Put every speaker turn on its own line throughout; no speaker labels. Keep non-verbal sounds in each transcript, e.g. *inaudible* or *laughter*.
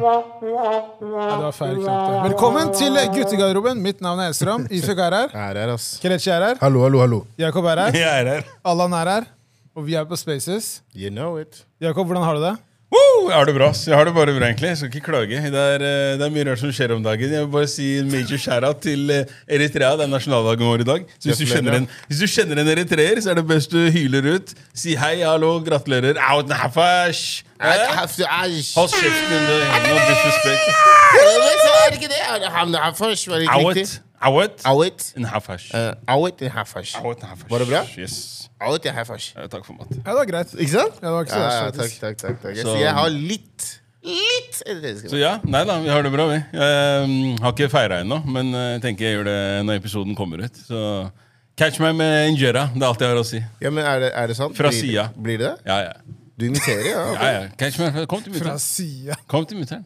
Ja, det var feil knapp. det. Velkommen til guttegarderoben. Mitt navn er Elstrøm. Ifjok er her.
Jeg er her, ass.
Kelechi er her.
Hallo, hallo, hallo.
Jakob er her.
*laughs* Jeg er her.
Allan er her. Og vi er på Spaces.
You know it.
Jakob, hvordan har du det?
Woo! Jeg har det bra. ass. Jeg har det bare bra, egentlig. Jeg skal ikke klage. Det er, eh, det er mye rart som skjer om dagen. Jeg vil bare si en major shout-out til eh, Eritrea. Det er nasjonaldagen vår i dag. Så hvis du,
Gratulerer.
kjenner en, hvis du kjenner en eritreer, så er det best du hyler ut. Si hei, hallo, gratulerer. Out and half ash. Eh? Hold kjeften din, det er noe disrespect.
إيه،
Er det ikke det?
يعني
Han er hafash, var det ikke
Out.
riktig?
Out.
Awet.
And half ash.
آه،
Awet er hafash.
Out and half ash.
Var det bra?
Yes.
Awet er hafash.
Eh, Takk for mat.
Ja, det var greit.
Ikke sant?
Ja, det var ikke så
Ja,
verst,
ja,
آه،
takk,
faktisk.
takk, takk. takk. Jeg
Så-
sier jeg har litt, litt
إيه
eritreisk.
Så ja, nei da, vi har det bra, vi. Jeg mm, har ikke feira ennå, men eh, jeg tenker jeg gjør det når episoden kommer ut. Så catch meg med injera. Det er alt jeg har å si.
Ja, men er det, er det sant?
Fra
Blir-
sida.
Blir det det?
Ja, ja.
Du imiterer, ja.
آه.
ok.
ja, ja. Catch meg. Kom til
Fra
mutter'n.
sida.
Kom til mutter'n.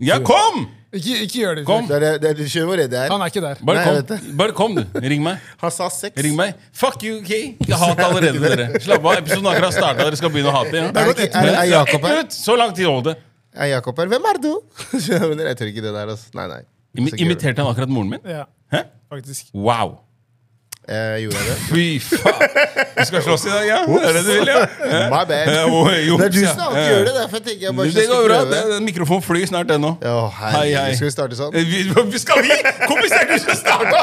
Ja, kom!
Ikke, ikke gjør det.
Kom.
Det er, det- det er, du skjønner hvor redd jeg er.
Han er ikke der.
Bare
Nei, jeg
kom.
vet
Bare kom, du. Ring meg.
Han sa sex.
Ring meg. Fuck you, OK? Jeg hater allerede
*laughs*
dere. Slapp av. Episoden har akkurat starta. Dere skal begynne å hate.
Er,
Ja.
det ikke- er, er Jakob her?
Ett minutt! Så lang tid holdt det.
آه،
Er Jakob her? Hvem er du?
*laughs*
Men jeg tør ikke det der, altså. Nei, nei.
Imi-
Så gøy.
Imiterte han akkurat moren min?
Ja,
Hæ?
faktisk.
Wow.
آه،
Eh,
أيوة،
gjorde jeg det?
Fy faen. Vi skal slåss i dag, ja? Er det du vil,
*laughs*
ja? Hæ?
My bad. *laughs*
*laughs*
Eh, oi, jo,
Det er du
ja.
som alltid gjør det. Derfor tenker jeg bare
Det går bra. Det- det- Mikrofonen flyr snart, den òg.
Å, herregud. Skal vi starte
*laughs*
sånn?
Vi, skal vi? Kompis, det er du som starta!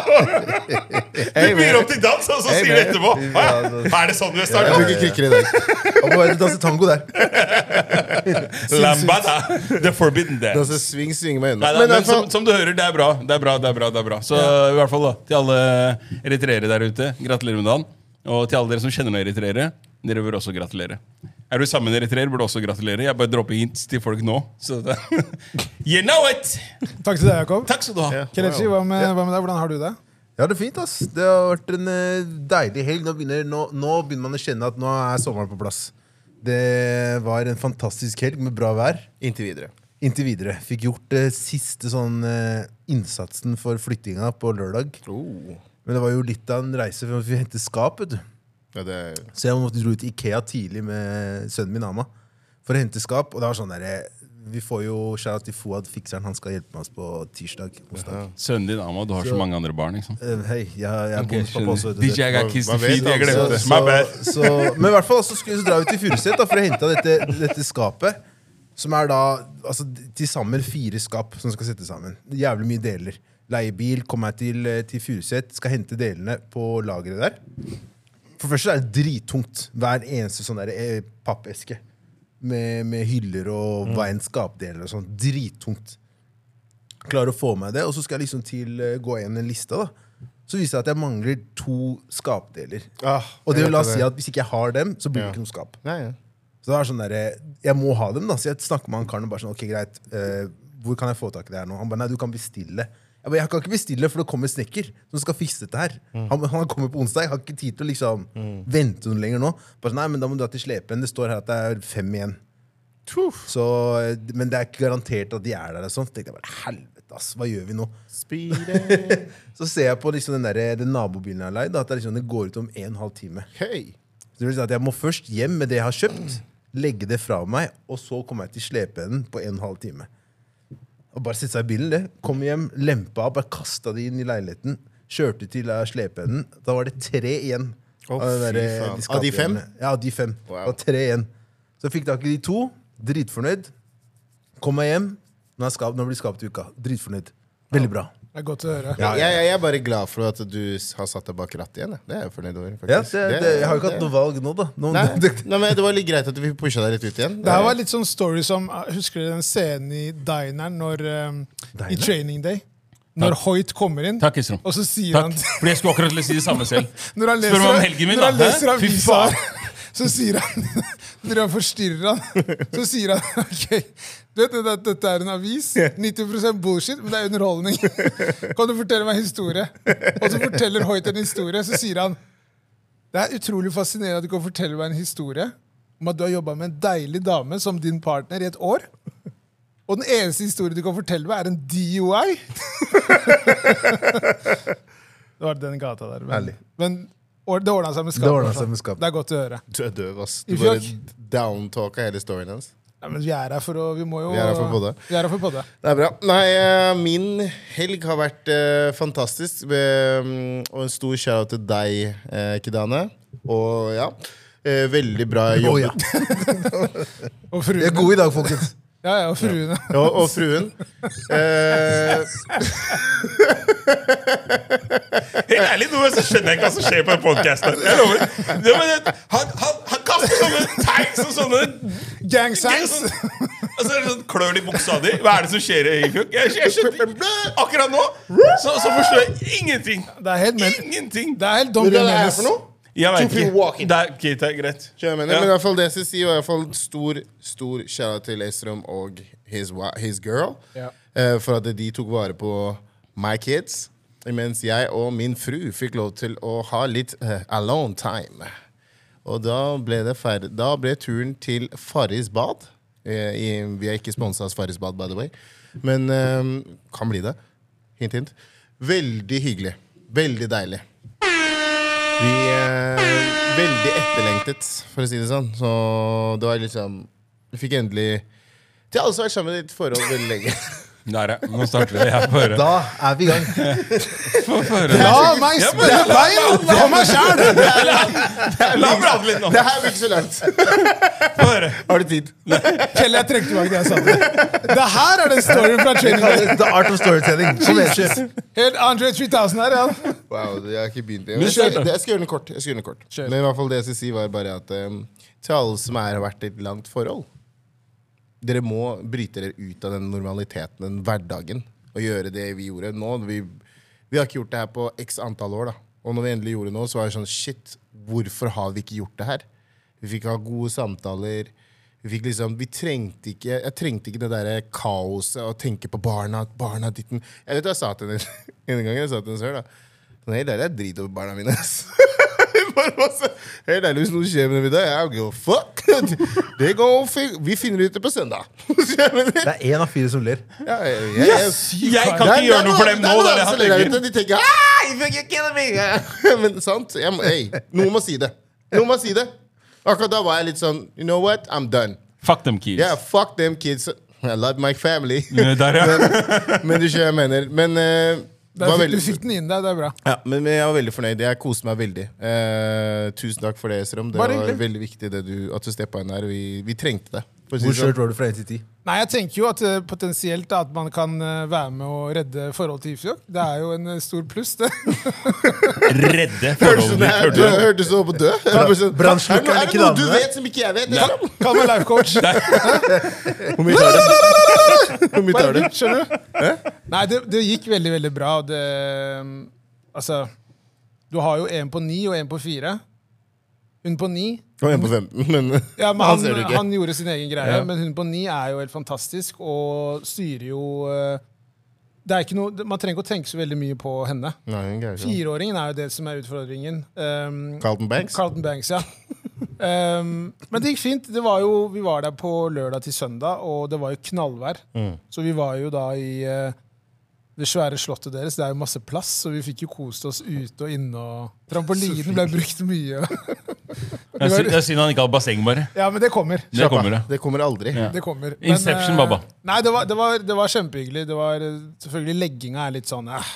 Hey,
Du byr
man.
opp til dans, og så
Hey,
sier du
man.
etterpå.
Ja, altså.
Hæ? Er det sånn du har
Jeg
starta?
bruker krykker i dag.
Og bare danse tango
*laughs*
der.
Lambada. The forbidden
Det er
dance.
Altså, sving, svinger meg unna.
Nei, nei,
Men i
men
hvert fall,
som, som du hører, det er bra. Det er bra, det er bra, det er bra. Så i hvert fall da, til alle eritreere der ute, gratulerer med dagen. Og til alle dere som kjenner noen eritreere, dere bør også gratulere. Er du sammen med en eritreer, bør du også gratulere. Jeg bare dropper hints til folk nå. Så det, *laughs* you know it!
Takk til deg, Jakob.
Takk skal du ha.
Ja.
Kelechi, hva med, hva med deg? Hvordan har du det?
Jeg har det fint, ass. Det har vært en eh, deilig helg. Nå begynner, nå, nå begynner man å kjenne at nå er sommeren på plass. Det var en fantastisk helg med bra vær.
inntil videre.
Inntil videre. Fikk gjort det siste sånn eh, innsatsen for flyttinga på lørdag.
Oh.
Men det var jo litt av en reise, for vi fikk hente skap. vet du.
Ja, det er
Så jeg måtte dro ut til Ikea tidlig med sønnen min Ama for å hente skap. Og det var sånn der, Vi får jo shout til Fouad, fikseren. Han skal hjelpe oss på tirsdag. onsdag.
Sønnen din, Ama, du har så, mange andre barn, ikke sant?
Eh, Hei, jeg, jeg er
Ok,
bonuspappa også. vet du
DJ,
det.
jeg got kissed
Man
in feet,
vet
jeg
aldri.
glemte det.
Så-
My bad.
så, men i hvert fall så skulle vi dra ut til Furuset da, for å hente dette, dette skapet. Som er da altså, til sammen fire skap som skal settes sammen. Jævlig mye deler. Leiebil, kommer jeg til, eh, til Furuset, skal hente delene på lageret der. For først så er det drittungt. Hver eneste sånn der, eh, pappeske. Med, med hyller
Mm.
og hva enn skapdeler og sånn. Drittungt. Klarer å få med det, og så skal jeg liksom til eh, gå igjen en liste. da Så viser det at jeg mangler to skapdeler.
ah,
Og det
jeg
vil da
vet
si at hvis ikke jeg har dem, så blir det
Ja.
ikke noe skap.
Nei, ja.
Så det er sånn der, jeg må ha dem, da. Så jeg snakker med han karen og bare sånn, ok, greit, eh, hvor kan jeg få tak i det her nå? Han bare, nei, du kan bestille. Jeg bare, jeg kan ikke bestille, for det kommer snekker som skal fikse dette her. Han, han kommer på onsdag, jeg har ikke tid til å liksom vente noe lenger nå. Bare sånn, nei, men da må du dra til slepen, det står her at det er fem igjen. Så, eh, men det er ikke garantert at de er der og sånn. Så tenkte jeg bare, helvete ass, hva gjør vi nå?
Speedy.
*laughs* Så ser jeg på liksom den, der, den nabobilen jeg har leid, da, at det, er liksom, det går ut om en og en halv time.
Hei.
Så det vil si at jeg må først hjem med det jeg har kjøpt, legge det fra meg, og så kommer jeg til slepeenden på en og en halv time. Og bare sette seg i bilen, det. Kom hjem, lempa av, bare kasta det inn i leiligheten. Kjørte til eh, slepeenden. Da var det tre igjen.
Å,
av den
fy
eh,
faen.
skapdelene.
Av de fem?
Ja, av de fem.
Wow.
Det var tre igjen. Så jeg fikk tak i de to. Dritfornøyd. Kom meg hjem. Nå, er skap, nå blir det skapt i uka. Dritfornøyd. Veldig bra.
Det er godt å høre.
Ja, ja,
Jeg, jeg, jeg er bare glad for at du s- har satt deg bak rattet igjen. jeg. Det er jeg fornøyd over. faktisk.
Ja, det, det, jeg har jo ikke hatt
det-
noe valg nå, da. Nå,
Nei, nei, men Det var litt greit at vi pusha deg litt ut igjen.
Det her var litt sånn story som Husker dere den scenen i dineren når, eh, i
Diner?
Training Day? Når Hoyt kommer inn,
Takk, Isrom.
og så sier
Takk.
han
Fordi jeg skulle akkurat til å si det samme *laughs* selv.
Når han leser,
Spør meg om helgen min,
når han
da. Hæ?
leser
Fy
avisa,
faen.
så sier han *laughs* Når han forstyrrer han, så sier han *laughs* OK, du vet dette, dette er en avis. 90 bullshit, men det er underholdning. *laughs* Kan du fortelle meg en historie? Og så forteller Hoyt en historie, så sier han Det er utrolig fascinerende at du kan fortelle meg en historie om at du har jobba med en deilig dame som din partner i et år. Og den eneste historien du kan fortelle meg, er en DUI. *laughs* det var den gata der. Men,
Herlig.
men or- det ordna seg med skapet.
Det ordnet
altså.
seg med skapet.
Det er godt å høre.
Du er døv, ass.
I
Du bare
fjokk.
downtalka hele storyen hans.
Nei, men vi er her for å Vi må jo
Vi er her for podde.
Vi er her for podde.
Det er bra. Nei, eh, min helg har vært eh, fantastisk. Eh, og en stor shout til deg, eh, Kidane. Og ja, eh, veldig bra
*laughs* Å
jobb.
ja.
Og
Vi er
fruene.
gode i dag, folkens.
Ja, ja, og fruene.
Og, og
*laughs*
fruen. Eh,
Helt ærlig, nå så skjønner jeg ikke hva som skjer på den podkasten. Jeg lover. Det, men, det- han, han, han kaster sånne tanks og sånne
*laughs* Gang signs!
sånn, altså, det er sånn Klør det i buksa di. Hva er det som skjer i fjokk? Jeg, jeg skjønner Akkurat nå så, så forstår jeg ingenting.
Det er helt men...
Ingenting.
Det er helt
vet
Don
du hva det er for noe?
Jeg
Two
vet
people
ikke.
walking.
Det er, ok, det er greit.
Skjønner jeg mener,
Ja.
Men i hvert fall det jeg skal si, og i hvert fall stor stor shout til Estrom og his, wa- his girl.
Ja.
eh, for at de tok vare på my kids. Mens jeg og min fru fikk lov til å ha litt eh, alone time. Og da ble, det feir- da ble turen til Farris bad. Eh, i, vi er ikke sponsa av Farris bad, by the way. Men eh, kan bli det. Hint, hint. Veldig hyggelig. Veldig deilig. Vi eh, Veldig etterlengtet, for å si det sånn. Så det var liksom Vi fikk endelig Det har også vært sammen i et forhold veldig lenge.
Der, ja. Nå starter vi. Jeg får høre.
Da er vi i gang.
Få høre.
La meg
Ja, men-
spille bein på meg sjæl!
*laughs* La meg prate litt nå.
Det her blir ikke så langt.
Få høre.
Har du tid?
Kjell, jeg trekker tilbake det jeg sa. til deg. Det her er den storyen fra Training Day.
The art of storytelling. Sånn Kom igjen, kjør.
Helt Andre 3000 her, ja.
Wow, jeg har ikke begynt det.
Men
Jeg skal,
kjør da.
det- jeg skal gjøre den kort. Jeg skal gjøre den kort.
Kjør.
Men i hvert fall det jeg skulle si, var bare at em, til alle som er, har vært i et langt forhold Dere må bryte dere ut av den normaliteten, den hverdagen, og gjøre det vi gjorde nå. Vi, vi har ikke gjort det her på x antall år, da. Og når vi endelig gjorde det nå, så var det sånn Shit, hvorfor har vi ikke gjort det her? Vi fikk ha gode samtaler. Vi fikk liksom, vi trengte ikke, jeg trengte ikke det der kaoset og tenke på barna. barna ditten. Jeg vet jeg sa til henne *laughs* en gang jeg sa til henne selv, da. Sånn, Helt ærlig, jeg driter over barna mine. ass. *laughs* Bare masse. Helt ærlig, hvis noe skjer med dem i dag, I don't give a fuck. *laughs* Det går, fi- vi finner ut det på søndag. *laughs* Skjønner du?
Det er én av fire som ler.
Ja, jeg, jeg, jeg,
Jeg kan ikke
det er-
gjøre
det er
noe for dem
det
nå.
er noen
Det er det
som
han
ler der
tenker.
ute, De tenker «Ah, you fucking killing me!» *laughs* Men sant? Jeg må, hey, noen må si det. Noen må si det. Akkurat da var jeg litt sånn You know what? I'm done.
Fuck them kids.
Yeah, fuck them kids. I love my family.
Eh, Der, ja.
*laughs* Men du skjønner hva jeg mener. Men eh,
Der
var
fikk,
veldig-
du fikk den inn der, det er bra.
ja, men, men jeg var veldig fornøyd. Jeg koste meg veldig. Eh, tusen takk for det, Esrom. Det
Bare
var
hyggelig.
veldig viktig det du, at du steppa inn her. Vi, vi trengte det. For å si
Hvor
det sånn.
skjørt var du fra 1 til 10?
Nei, jeg tenker jo at eh, potensielt da, at man kan eh, være med å redde forholdet til giftjokk. Det er jo en eh, stor pluss, det. *laughs*
Redde
Hørtes ut som
forholdene.
jeg-
Hørte du? det?
hørtes ut som jeg var på død. Jeg bare sånn,
Brannslukkeren
er det noe- Er det
ikke
noe du
damen,
vet som ikke jeg vet? Esrom?
Kall meg life coach.
Hvor mye tar det? *laughs* Hvor mye tar det?
Bare, skjønner du? Nei, det, det gikk veldig, veldig bra. og Det, um, altså, du har jo en på ni og en på fire. Hun på ni
Og en på 15, men
ja, men
han
han,
ser du
han,
ikke.
gjorde sin egen greie,
Ja.
men hun på ni er jo helt fantastisk og styrer jo eh, det er ikke noe, Man trenger ikke å tenke så veldig mye på henne.
Nei, hun greier ikke det.
Fireåringen er jo det som er utfordringen. Um,
Carlton Banks?
Carlton Banks, ja. *laughs* Ehm, men det gikk fint. Det var jo, vi var der på lørdag til søndag, og det var jo knallvær.
Mm.
Så vi var jo da i eh, det svære slottet deres. Det er jo masse plass, så vi fikk jo kost oss ute og inne. og Trampolinen ble brukt mye. *laughs*
Det er synd- det er synd han ikke har basseng, bare.
ja, men det kommer.
Det kommer, det.
Det kommer aldri.
Ja.
Det kommer.
Inception,
eh,
baba.
Nei, det var, det var, det var kjempehyggelig. Det var, eh, selvfølgelig, legginga er litt sånn eh,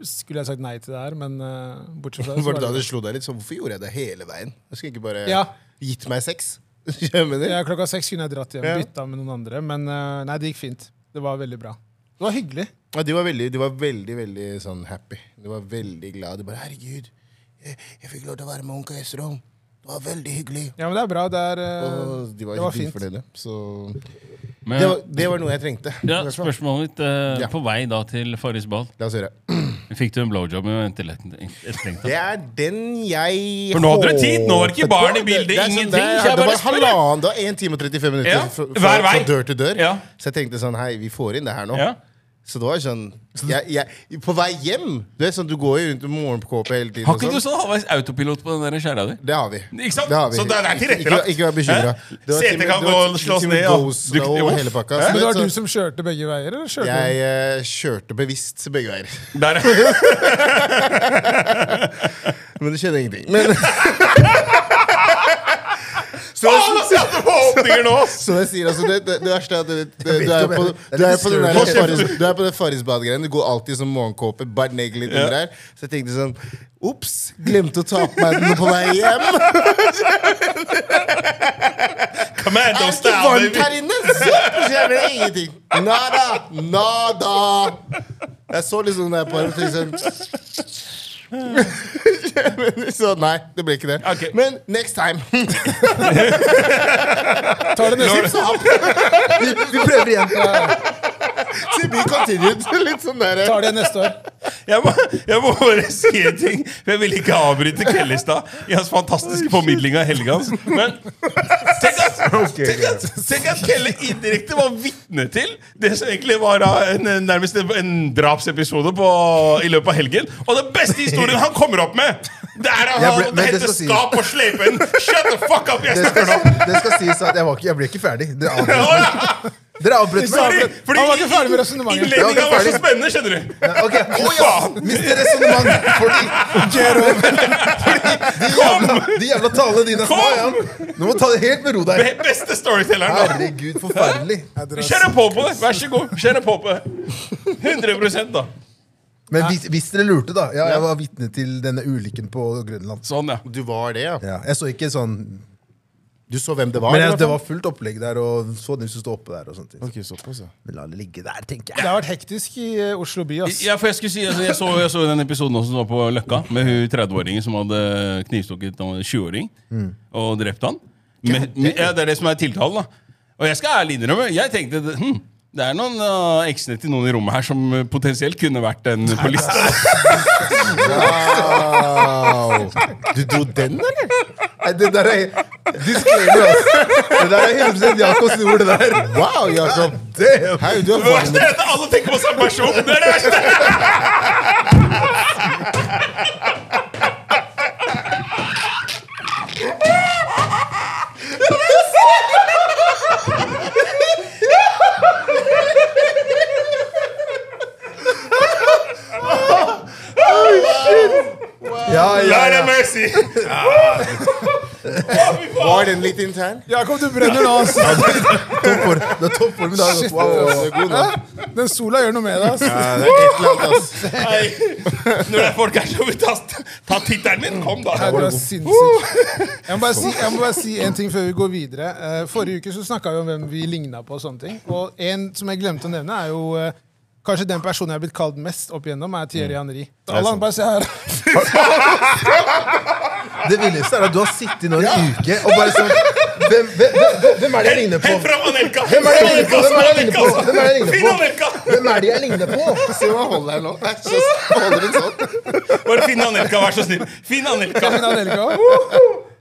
Skulle jeg sagt nei til det her, men eh, bortsett fra det, så
Var det da
var
du
det
slo deg litt sånn? Hvorfor gjorde jeg det hele veien? Jeg skulle ikke bare
Ja.
gitt meg sex? *laughs* Jeg mener,
Ja, klokka seks kunne jeg dratt hjem
Ja.
og bytta med noen andre, men eh, nei, det gikk fint. Det var veldig bra. Det var hyggelig.
Ja, de, var veldig, de var veldig veldig sånn happy. De var veldig glad. De bare 'Herregud, jeg, jeg fikk lov til å være med onkel Esrom. Det var veldig hyggelig.'
Ja, men det er bra. Det er eh,
Og de var,
det var fint.
dritfornøyde. Så
Men-
det var, det var noe jeg trengte.
Ja,
I hvert fall.
Spørsmålet mitt eh,
Ja.
på vei da til Farris bad.
La oss høre.
Fikk du en blowjob med etterlengta?
Det er den jeg
For nå hadde dere tid, nå var det ikke
håpet
barn i
på.
bildet,
Det- det er sånn,
ingenting,
Det,
så jeg
er- det
bare
var
spør, jeg.
halvannen, det var 1 time og 35 minutter
Ja,
fra, fra,
hver vei.
fra dør til dør.
Ja.
Så jeg tenkte sånn, hei, vi får inn det her nå.
Ja.
Så det var sånn jeg, jeg, På vei hjem Du vet sånn, du går jo rundt med morgenkåpe hele tiden.
Har
og
ikke du
sånn.
sånn halvveis autopilot på den der skjæra
*laughs*
di?
Det har vi.
Ikke sant?
Det har vi.
Så det er tilrettelagt.
Ikke, ikke vær
Hæ?
bekymra.
Setet kan gå og slås ned, og
og,
dukte-
og
Uff.
hele pakka.
Hæ?
Så
Men det
vet
var
sånn,
du som kjørte begge veier, eller kjørte
jeg eh, kjørte bevisst begge veier.
Der,
Men det skjedde ingenting. Men,
Faen, ass! Jeg hadde på åpninger nå! ass!
*laughs* Som jeg sier, altså, det, det, det verste er at det, det,
vet
du er
jo,
på,
men det er
du er
litt
på, den der
disturbing.
Farris- du er på det Farris-badegreiene. Du går alltid som morgenkåpe, bare negler litt under der. Så jeg tenkte sånn Ops! Glemte å ta på meg den på vei hjem. Det
Commando
er ikke
style,
varmt
baby!
her inne! Super, så jeg vet ingenting. Nada! Nada! Jeg så liksom det på henne og tenkte sånn liksom. *laughs* Så nei, det ble ikke det.
Ok.
Men next time.
Tar det neste.
Så han-
Vi, vi prøver igjen.
så vi continued. *laughs* Litt sånn der
Tar det neste år.
Jeg må, jeg må bare si en ting, for jeg ville ikke avbryte Kellestad i hans fantastiske formidling av Helgans. Men tenk at, tenk at, tenk at Kelle indirekte var vitne til det som egentlig var da en, en- nærmest en- en drapsepisode på, i løpet av helgen. Og den beste historien han kommer opp med, det er at
Jeg
han
ble- men det
henter
skal sies.
skap og sleper en Shut the fuck up! Jeg
Det
snakker
skal,
nå!
det skal sies at jeg, var ikke, jeg ble ikke ferdig. Dere avbrøt meg. Dere avbrøt meg.
Fordi, fordi
Han var ikke ferdig med resonemanget.
Jeg
Innledninga
var
var
ikke
så spennende, skjønner du.
Ok,
faen.
Mist resonnement. Fordi, de, jævla, de jævla talene dine
Kom!
Faen, Jan. Nå må du ta det helt med ro der.
Be- Beste storytelleren. da.
Herregud, forferdelig.
Kjør på på det! Vær så god. Kjør på på det. 100 da.
Men hvis, hvis dere lurte, da. Ja, jeg var vitne til denne ulykken på Grønland.
Sånn, ja.
Du var det, ja.
Ja, jeg så ikke sånn
Du så hvem det var?
Men jeg,
eller
det
hva
var fullt opplegg der, og så den som sto oppe der. og sånt.
faen? Ok, såpass, ja.
Men la det ligge der, tenker
Det
jeg.
har vært hektisk i eh, Oslo by, ass.
Ja, for Jeg skulle si, altså, jeg så, jeg så den episoden også som var på Løkka, med hun 30-åringen som hadde knivstukket en 20-åring og drept han. Med, med, ja, det er det som er tiltalen. da. Og jeg skal ærlig innrømme, jeg tenkte det- hm, det er noen uh, eksene til noen i rommet her som eh, potensielt kunne vært en på lista.
Wow. Du dro den, eller?
Nei, det der er Disclaimer, ass. Det der er 100 Jakobs ord, det der.
Wow, Jakob.
Damn.
Hei, du er
Det verste
varm.
er at alle tenker på samme person! Det er det verste!
Ja, ja, *laughs*
Lord have
ja.
mercy!
Var den litt intern?
Jakob, du brenner nå, ass.
Topp form. Du er topp form i dag. ass.
Shit.
Wow, wow, wow.
Det er god nå.
Den sola gjør noe med deg, ass.
Ja, det er et eller annet, ass.
Nei. Når det er folk her som vil ta, ta tittelen min, kom da!
Nei, du er sinnssyk. *laughs* Jeg må bare si, jeg må bare si en ting før vi går videre. Eh, Forrige uke så snakka vi om hvem vi ligna på. Og sånne ting. Og en som jeg glemte å nevne, er jo eh, kanskje den personen jeg har blitt kalt mest opp igjennom, Mm. er Thierry Henry. Så alle andre bare se her. *laughs*
Det villeste er at du har sittet nå en uke og bare sånn Hvem, hvem, hvem, hvem er det jeg ligner på?
Hent fram Anelka!
Hvem er det jeg ligner på? Hvem er det jeg ligner på? Hvem er det jeg
Finn
ligner
Anelka!
på? Hvem er det jeg ligner på?
Se hva han holder her nå. Nei, så holder den sånn.
Bare finn Anelka, vær så snill. Finn Anelka.
Min Anelka.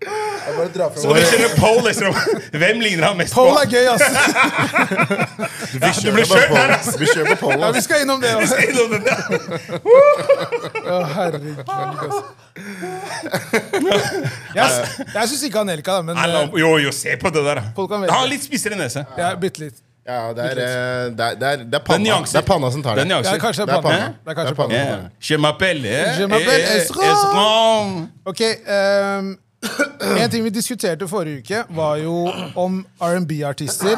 Jeg bare drar
Så
frem.
dere kjenner Paul leser om hvem ligner han mest på.
Paul er gøy, ass. *laughs*
Ja, du ble
Kjør
kjørt
på.
der, ass!
Vi kjører på Polen,
Ja,
ass.
vi skal innom det. ass.
Innom den der.
Å, herregud. ass. Jeg, jeg syns ikke Anelka, da, men
Nei, la-
eh,
Jo, jo, se på det der, da.
Folk kan velge.
Han har litt spissere nese.
ja, bitte litt.
Ja, det er, eh, det er, det er, det er
Det er
panna.
nyanser.
Det er panna som tar
Det er
det.
Det er
nyanser.
kanskje
Det
panna.
er panna.
Det er
Det er
kanskje
panna.
panna.
Yeah. Je m'appelle eh,
Je m'appelle
eh,
Ezra.
Ezra.
Ok, ehm, En ting vi diskuterte forrige uke, var jo om R&B-artister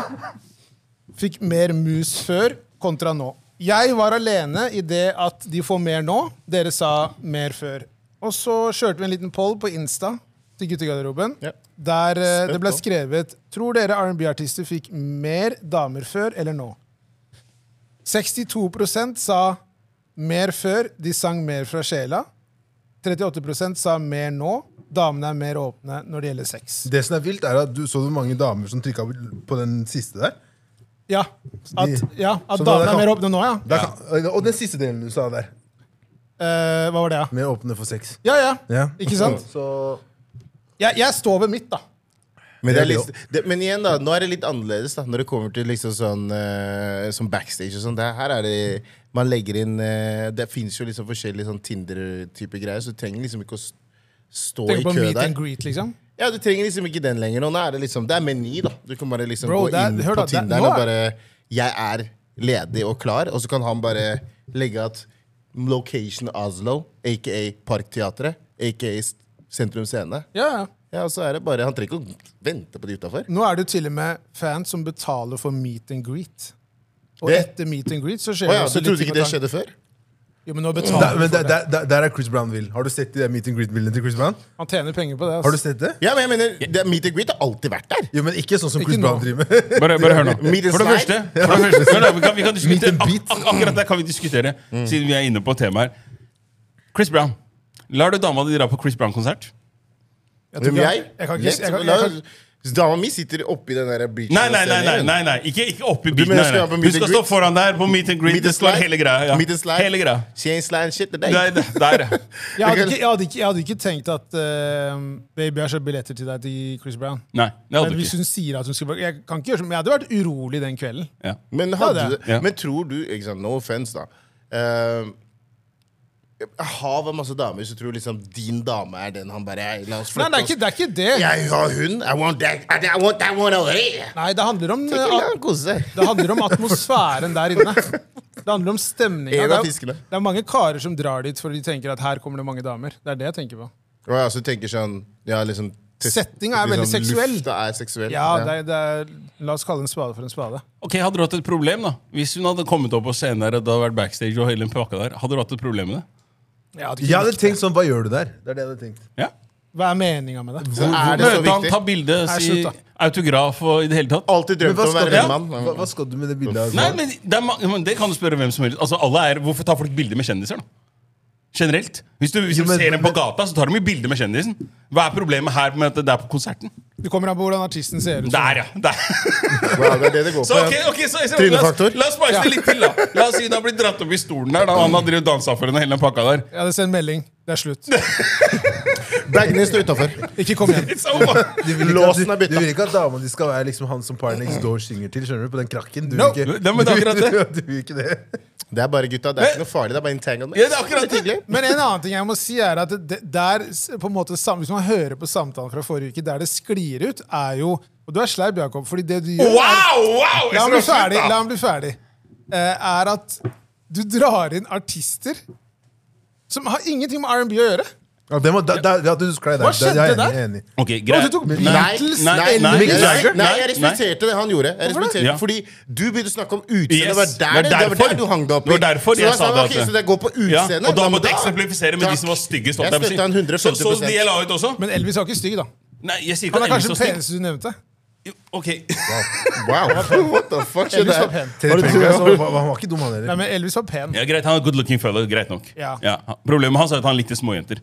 fikk mer mus før kontra nå. Jeg var alene i det at de får mer nå. Dere sa mer før. Og så kjørte vi en liten poll på Insta til guttegarderoben.
Ja.
Der eh, det ble
Spent
skrevet Tror dere R&B-artister fikk mer damer før eller nå? 62 sa mer før, de sang mer fra sjela. 38 sa mer nå. Damene er mer åpne når det gjelder sex.
Det som er vilt, er at du så hvor mange damer som trykka på den siste der.
Ja, at, ja, at
Så da-
damene er mer åpne nå, ja.
der kan, og den siste delen du sa der.
Eh, hva var det, ja?
Mer åpne for sex.
Ja, ja.
Ja.
Ikke sant?
Så
Jeg, jeg står ved mitt, da.
Men, det er litt, det, men igjen, da. Nå er det litt annerledes da, når det kommer til liksom sånn eh, som backstage og sånn. Det Her er det Man legger inn eh, Det fins jo liksom forskjellige sånn Tinder-type greier, så du trenger liksom ikke å s- stå i
Tenk på
kø
meet
der.
and greet, liksom.
Ja, du trenger liksom ikke den lenger. Nå Nå er det liksom, det er meny, da. Du kan bare liksom
Bro,
gå
det er-
inn
hør da, det
på
er-
Tinderen
nå
og
er-
bare Jeg er ledig og klar. Og så kan han bare legge at Location Oslo, aka Parkteatret, aka S- Sentrum Scene.
Ja, ja.
Ja, og så er det bare, Han trenger ikke å vente på de utafor.
Nå er det jo til og med fans som betaler for meet and greet. Og
Det-
etter meet and greet så skjer
Å ja,
det også
du trodde
litt
ikke det
ting-
skjedde før?
Jo, men nå
Der,
betaler
men
du
der,
for det.
der, der- der er Chris Brown-bil. Har du sett de der meet and greet-bildene til Chris Brown?
Han tjener penger på det.
Har du
Altså.
sett det?
Ja, men jeg mener, det, er Meet and greet har alltid vært der.
Jo, men ikke sånn som
Ikke
Chris
nå.
Brown driver med. *laughs*
Bare, bare hør nå. For
Meet
det
and
første,
slide.
for det første Hør da, vi, kan, vi kan diskutere
Meet and beat.
ak ak Akkurat der kan vi diskutere, siden vi er inne på temaet her. Chris Brown. Lar du dama di dra på Chris Brown-konsert?
Jeg tror
Hvem
ikke-
jeg?
Jeg kan ikke,
Lett,
jeg kan,
la-
jeg kan,
Dama mi sitter oppi den der beachen.
Nei, nei, nei. nei, nei, nei. Ikke, ikke oppi bilen.
mener
Nei,
skal jeg på
nei.
meet
Hun skal
and
stå
greet?
foran der på meet and greet.
Meet
Det
and
skal være
slide.
hele greia. Ja.
Meet and slide.
Hele greia.
She ain't slide shit today.
Der, der,
*laughs*
der. ja.
jeg, hadde ikke, jeg, hadde ikke, jeg hadde ikke tenkt at eh, Baby, jeg har kjøpt billetter til deg til Chris Brown.
Nei, det
Men
hadde du
hvis
ikke.
hun sier at hun skal Jeg kan ikke gjøre sånn, men jeg hadde vært urolig den kvelden.
Ja.
Men, hadde,
Ja, det
er. Ja.
men tror du ikke sant, No offense, da. Eh, Jeg har masse damer som tror liksom din dame er den han bare «Hei, La oss
Nei,
flytte
det er ikke det. Er ikke det.
Jeg har hun. I want that. I I want that one over here.
Nei, det handler om,
Ikke la
eh,
han kose seg.
det handler om atmosfæren der inne. Det handler om stemninga.
En
Det,
av
er-
fiskene.
det er mange karer som drar dit for de tenker at her kommer det mange damer. Det er det jeg tenker på.
Og jeg også tenker sånn ja, liksom, test- liksom
Settinga er veldig seksuell.
Lufta er seksuell.
Ja, det er, det er, La oss kalle en spade for en spade.
Ok, Hadde du hatt et problem da? Hvis hun hadde kommet opp på scenen der, og det hadde vært backstage og hele den pakka der, hadde du hatt et problem med det?
Jeg hadde ikke
Jeg hadde
likt
tenkt sånn, hva gjør du der? Det er det jeg hadde tenkt.
Ja.
Hva er meninga med det?
Så er det så
Møte han, ta
viktig.
bilde,
Nei,
si
slutt,
autograf og i det hele tatt?
Alltid
Men
drømt
hva
om å
skal,
være
ja.
vennmann.
hva, hva skal du med det bildet? av-
Nei, men det, er ma- men det kan du spørre hvem som helst. Altså, alle er, hvorfor tar folk bilder med kjendiser, da? Generelt. Hvis du, hvis du
Jo, men-
ser dem på
men-
gata, så tar de jo bilder med kjendisen. Hva er problemet her med at det er på konserten?
Det kommer an på hvordan artisten
Sånn.
ser ut.
Der, ja. Der.
Ja, det er det det går
Så
på. *laughs*
ok,
ja.
ok, så, så, la, oss,
Trynefaktor.
la oss spice det litt til, da. La oss si hun har blitt dratt opp i stolen der, da. Han har drevet dansa for henne hele den pakka der.
Jeg hadde sendt melding. Det er slutt.
Bagnes står utafor.
Ikke kom igjen.
It's over.
Du vil ikke at,
Låsen er
du,
bytta.
du vil ikke at dama di skal være liksom han som Party Next Door synger til, skjønner du? På den krakken. Du
No,
vil ikke,
det- men det er akkurat
*laughs* du, du, du vil ikke det.
Det er bare gutta, det er ikke noe farlig. Det er bare entanglement.
Ja, det er akkurat det.
hyggelig.
Men en annen ting jeg må si er at det, der, s- på en måte, sam- Hvis man hører på samtalen fra forrige uke, der det sklir ut, er jo Og du er sleip, Jakob, fordi det du gjør er-
Wow! wow!
La
Jeg
ham bli
skal slutte,
ferdig.
da.
La ham bli ferdig. Eh, er at du drar inn artister som har ingenting med R&B å gjøre.
Ja, det må, da, da, ja, du husker det der.
Hva skjedde
Det er jeg
der?
enig- enig i.
Ok, greit.
Og du tok
Nei,
Beatles
nei, nei,
eller
Nei,
Mick
jeg,
Jagger?
nei,
Nei,
jeg respekterte det han gjorde. Jeg respekterte
Ja.
Fordi du begynte å snakke om
Yes,
utseendet. Det var der,
det var
det var der
derfor.
du hang deg opp i.
Det var derfor
så
jeg
da
sa
han,
det
ok,
at-
så det går på utseendet.
Ja, og da måtte jeg
da-
eksemplifisere med
Takk.
de som var styggest. holdt på å
Jeg
si.
støtter han 150
Så, så de jeg la ut også?
Men Elvis var ikke stygg, da.
Nei, jeg sier ikke
Han er
at Elvis
kanskje
var
den
stygg.
peneste du nevnte.
Ok, *laughs*
Wow, what the fuck skjedde
Elvis var
her?
pen.
Terry
Var det
Pringle,
to-
altså, hva- hva- Han var ikke dum, han
Nei,
heller.
men Elvis var pen.
ja, greit, Han er good looking fellow. Greit nok.
Ja.
han- Problemet hans er at han likte småjenter.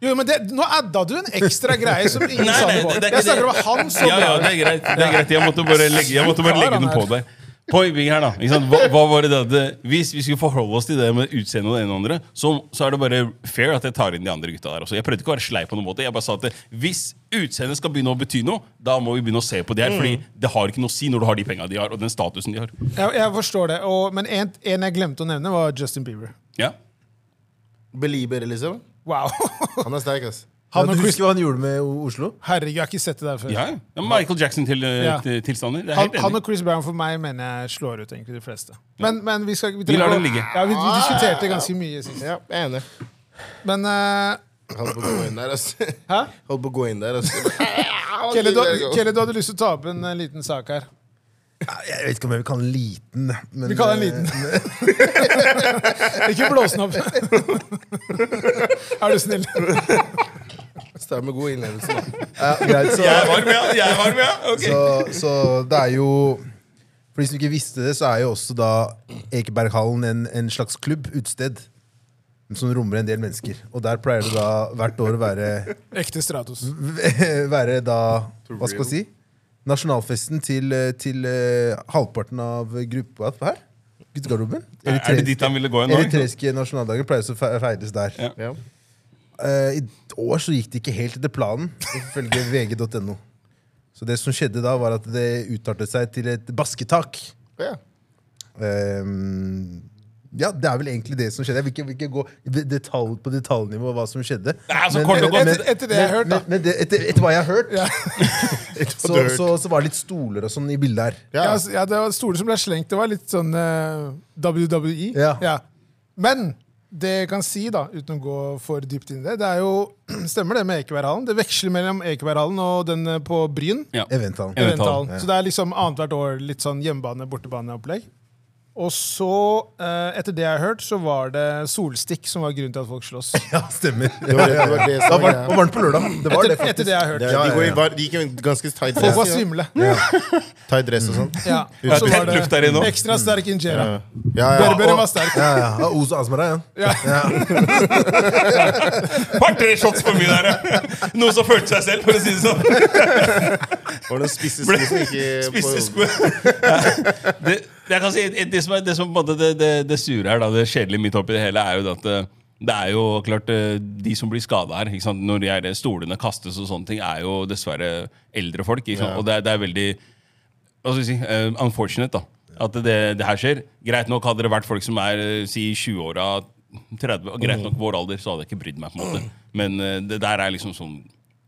Jo, men det, Nå adda du en ekstra greie som ingen sa noe på.
er
Jeg
ikke
snakker om han som
ja, ja, det er greit. Det er greit. Jeg måtte bare legge, jeg måtte bare
Kar
legge
han
den på
er.
deg. Poenget her, da. Ikke sant? Hva, hva var det da? det, Hvis vi skulle forholde oss til det med utseendet og det ene og det andre, så, så er det bare fair at jeg tar inn de andre gutta der også. Jeg prøvde ikke å være sleip på noen måte. Jeg bare sa at det, hvis utseendet skal begynne å bety noe, da må vi begynne å se på det her.
Mm.
Fordi det har ikke noe å si når du har de penga de har, og den statusen de har.
Jeg, jeg forstår det. Og, men en, en jeg glemte å nevne, var Justin Bieber.
Ja.
Belieber, liksom.
*laughs*
Wow.
Han er sterk, ass.
Ja,
Han
du
og Chris,
husker hva han gjorde med O- Oslo?
herregud, jeg har ikke sett det der før.
ja. Det er Michael
Ja.
Jackson-tilstander. Til, eh, tilstander. Det er
Han,
helt
han
enig.
og Chris Brown for meg mener jeg slår ut egentlig de fleste. Men, men vi skal vi
Vi lar
trenger å-
den ligge.
Ja, vi, vi diskuterte ganske mye sist.
Ja, jeg er enig.
Men *laughs* eh,
Holdt på å gå inn der, ass.
Hæ?
Holdt på å gå inn der, ass.
Kelle, du, Kelle, du hadde lyst til å ta opp en eh, liten sak her.
Ja, Jeg vet ikke om jeg vil kalle den liten. Men, eh,
Vi kaller den liten. *laughs* Ikke blås den opp. *laughs* Er du snill?
Start med god innlevelse, da.
*laughs* Ja, greit, så,
Jeg er varm, ja. Jeg er varm, ja. Ok.
så, så det er jo For de som ikke visste det, så er jo også da Ekeberghallen en, en slags klubb, utested, som rommer en del mennesker. Og der pleier det da hvert år å være *laughs*
Ekte Stratos.
Være da Hva skal jeg si? Nasjonalfesten til, eh, til eh, halvparten av gruppa her. Guttegarderoben.
Er det dit han ville gå en dag?
Eritreiske nasjonaldager pleier også å fe- feires der.
Ja.
Ja.
Eh, I år så gikk det ikke helt etter planen, ifølge vg.no. Så det som skjedde da, var at det utartet seg til et basketak.
Ja.
Ehm, ja, det er vel egentlig det som skjedde. Jeg vil ikke, vil ikke gå i det- detalj, på detaljnivå hva som skjedde.
Nei, altså, kort og godt.
Etter, etter det jeg har hørt,
men,
da.
men det, etter, etter hva jeg har hørt, *laughs*
Ja.
så, så, så var det litt stoler og sånn i bildet her.
Ja,
Ja.
altså, E. ja, det var stoler som ble slengt. Det var litt sånn eh, WWE.
Ja.
Men Det jeg kan si, da, uten å gå for dypt inn i det, det er jo *clears throat* Stemmer det med Ekeberghallen? Det veksler mellom Ekeberghallen og den eh, på Bryn.
Ja.
Eventhallen.
Eventhallen.
Eventhallen. Så det er liksom annethvert år litt sånn hjemmebane-bortebane-opplegg. Og så, eh, etter det jeg har hørt, så var det solstikk som var grunnen til at folk slåss.
*laughs* Ja, stemmer.
*laughs* Det var det, det, var det
Det
som
var varmt,
var
det var
greia.
varmt på lørdag. Det var
Etter,
det, faktisk.
etter det jeg har hørt.
Det-
Ja,
De
ja,
går i
ja.
var- de gikk jo i ganske tight dress.
Folk var Mm.
ja.
svimle.
Tight dress og sånn.
Ja.
Ja,
Og så
det *laughs*
var det
lukter i nå.
ekstra sterk injera.
Ja, ja, ja.
Berberen
og-
var sterk.
Ja, ja. Ah, Ozo Asmara, ja.
Par-tre shots for mye der, ja. Noen som følte seg selv, for å si det sånn.
Var det noen spisse
Ble-
sko som ikke
Spisse
på-
sko. Ja. *laughs* Det, jeg kan si, det som, er, det, som på en måte det, det, det sure her, da, det kjedelige midt oppi det hele, er jo det at eh, det er jo klart eh, de som blir skada her, ikke sant? når de her stolene kastes og sånne ting, er jo dessverre eldre folk. Ikke sant?
Ja.
Og det, er- det er veldig hva skal vi si, eh, unfortunate da, at det, det her skjer. Greit nok hadde det vært folk som er eh, si 20-åra, 30, og greit nok vår alder, så hadde jeg ikke brydd meg. på en måte. Men eh, det der er liksom sånn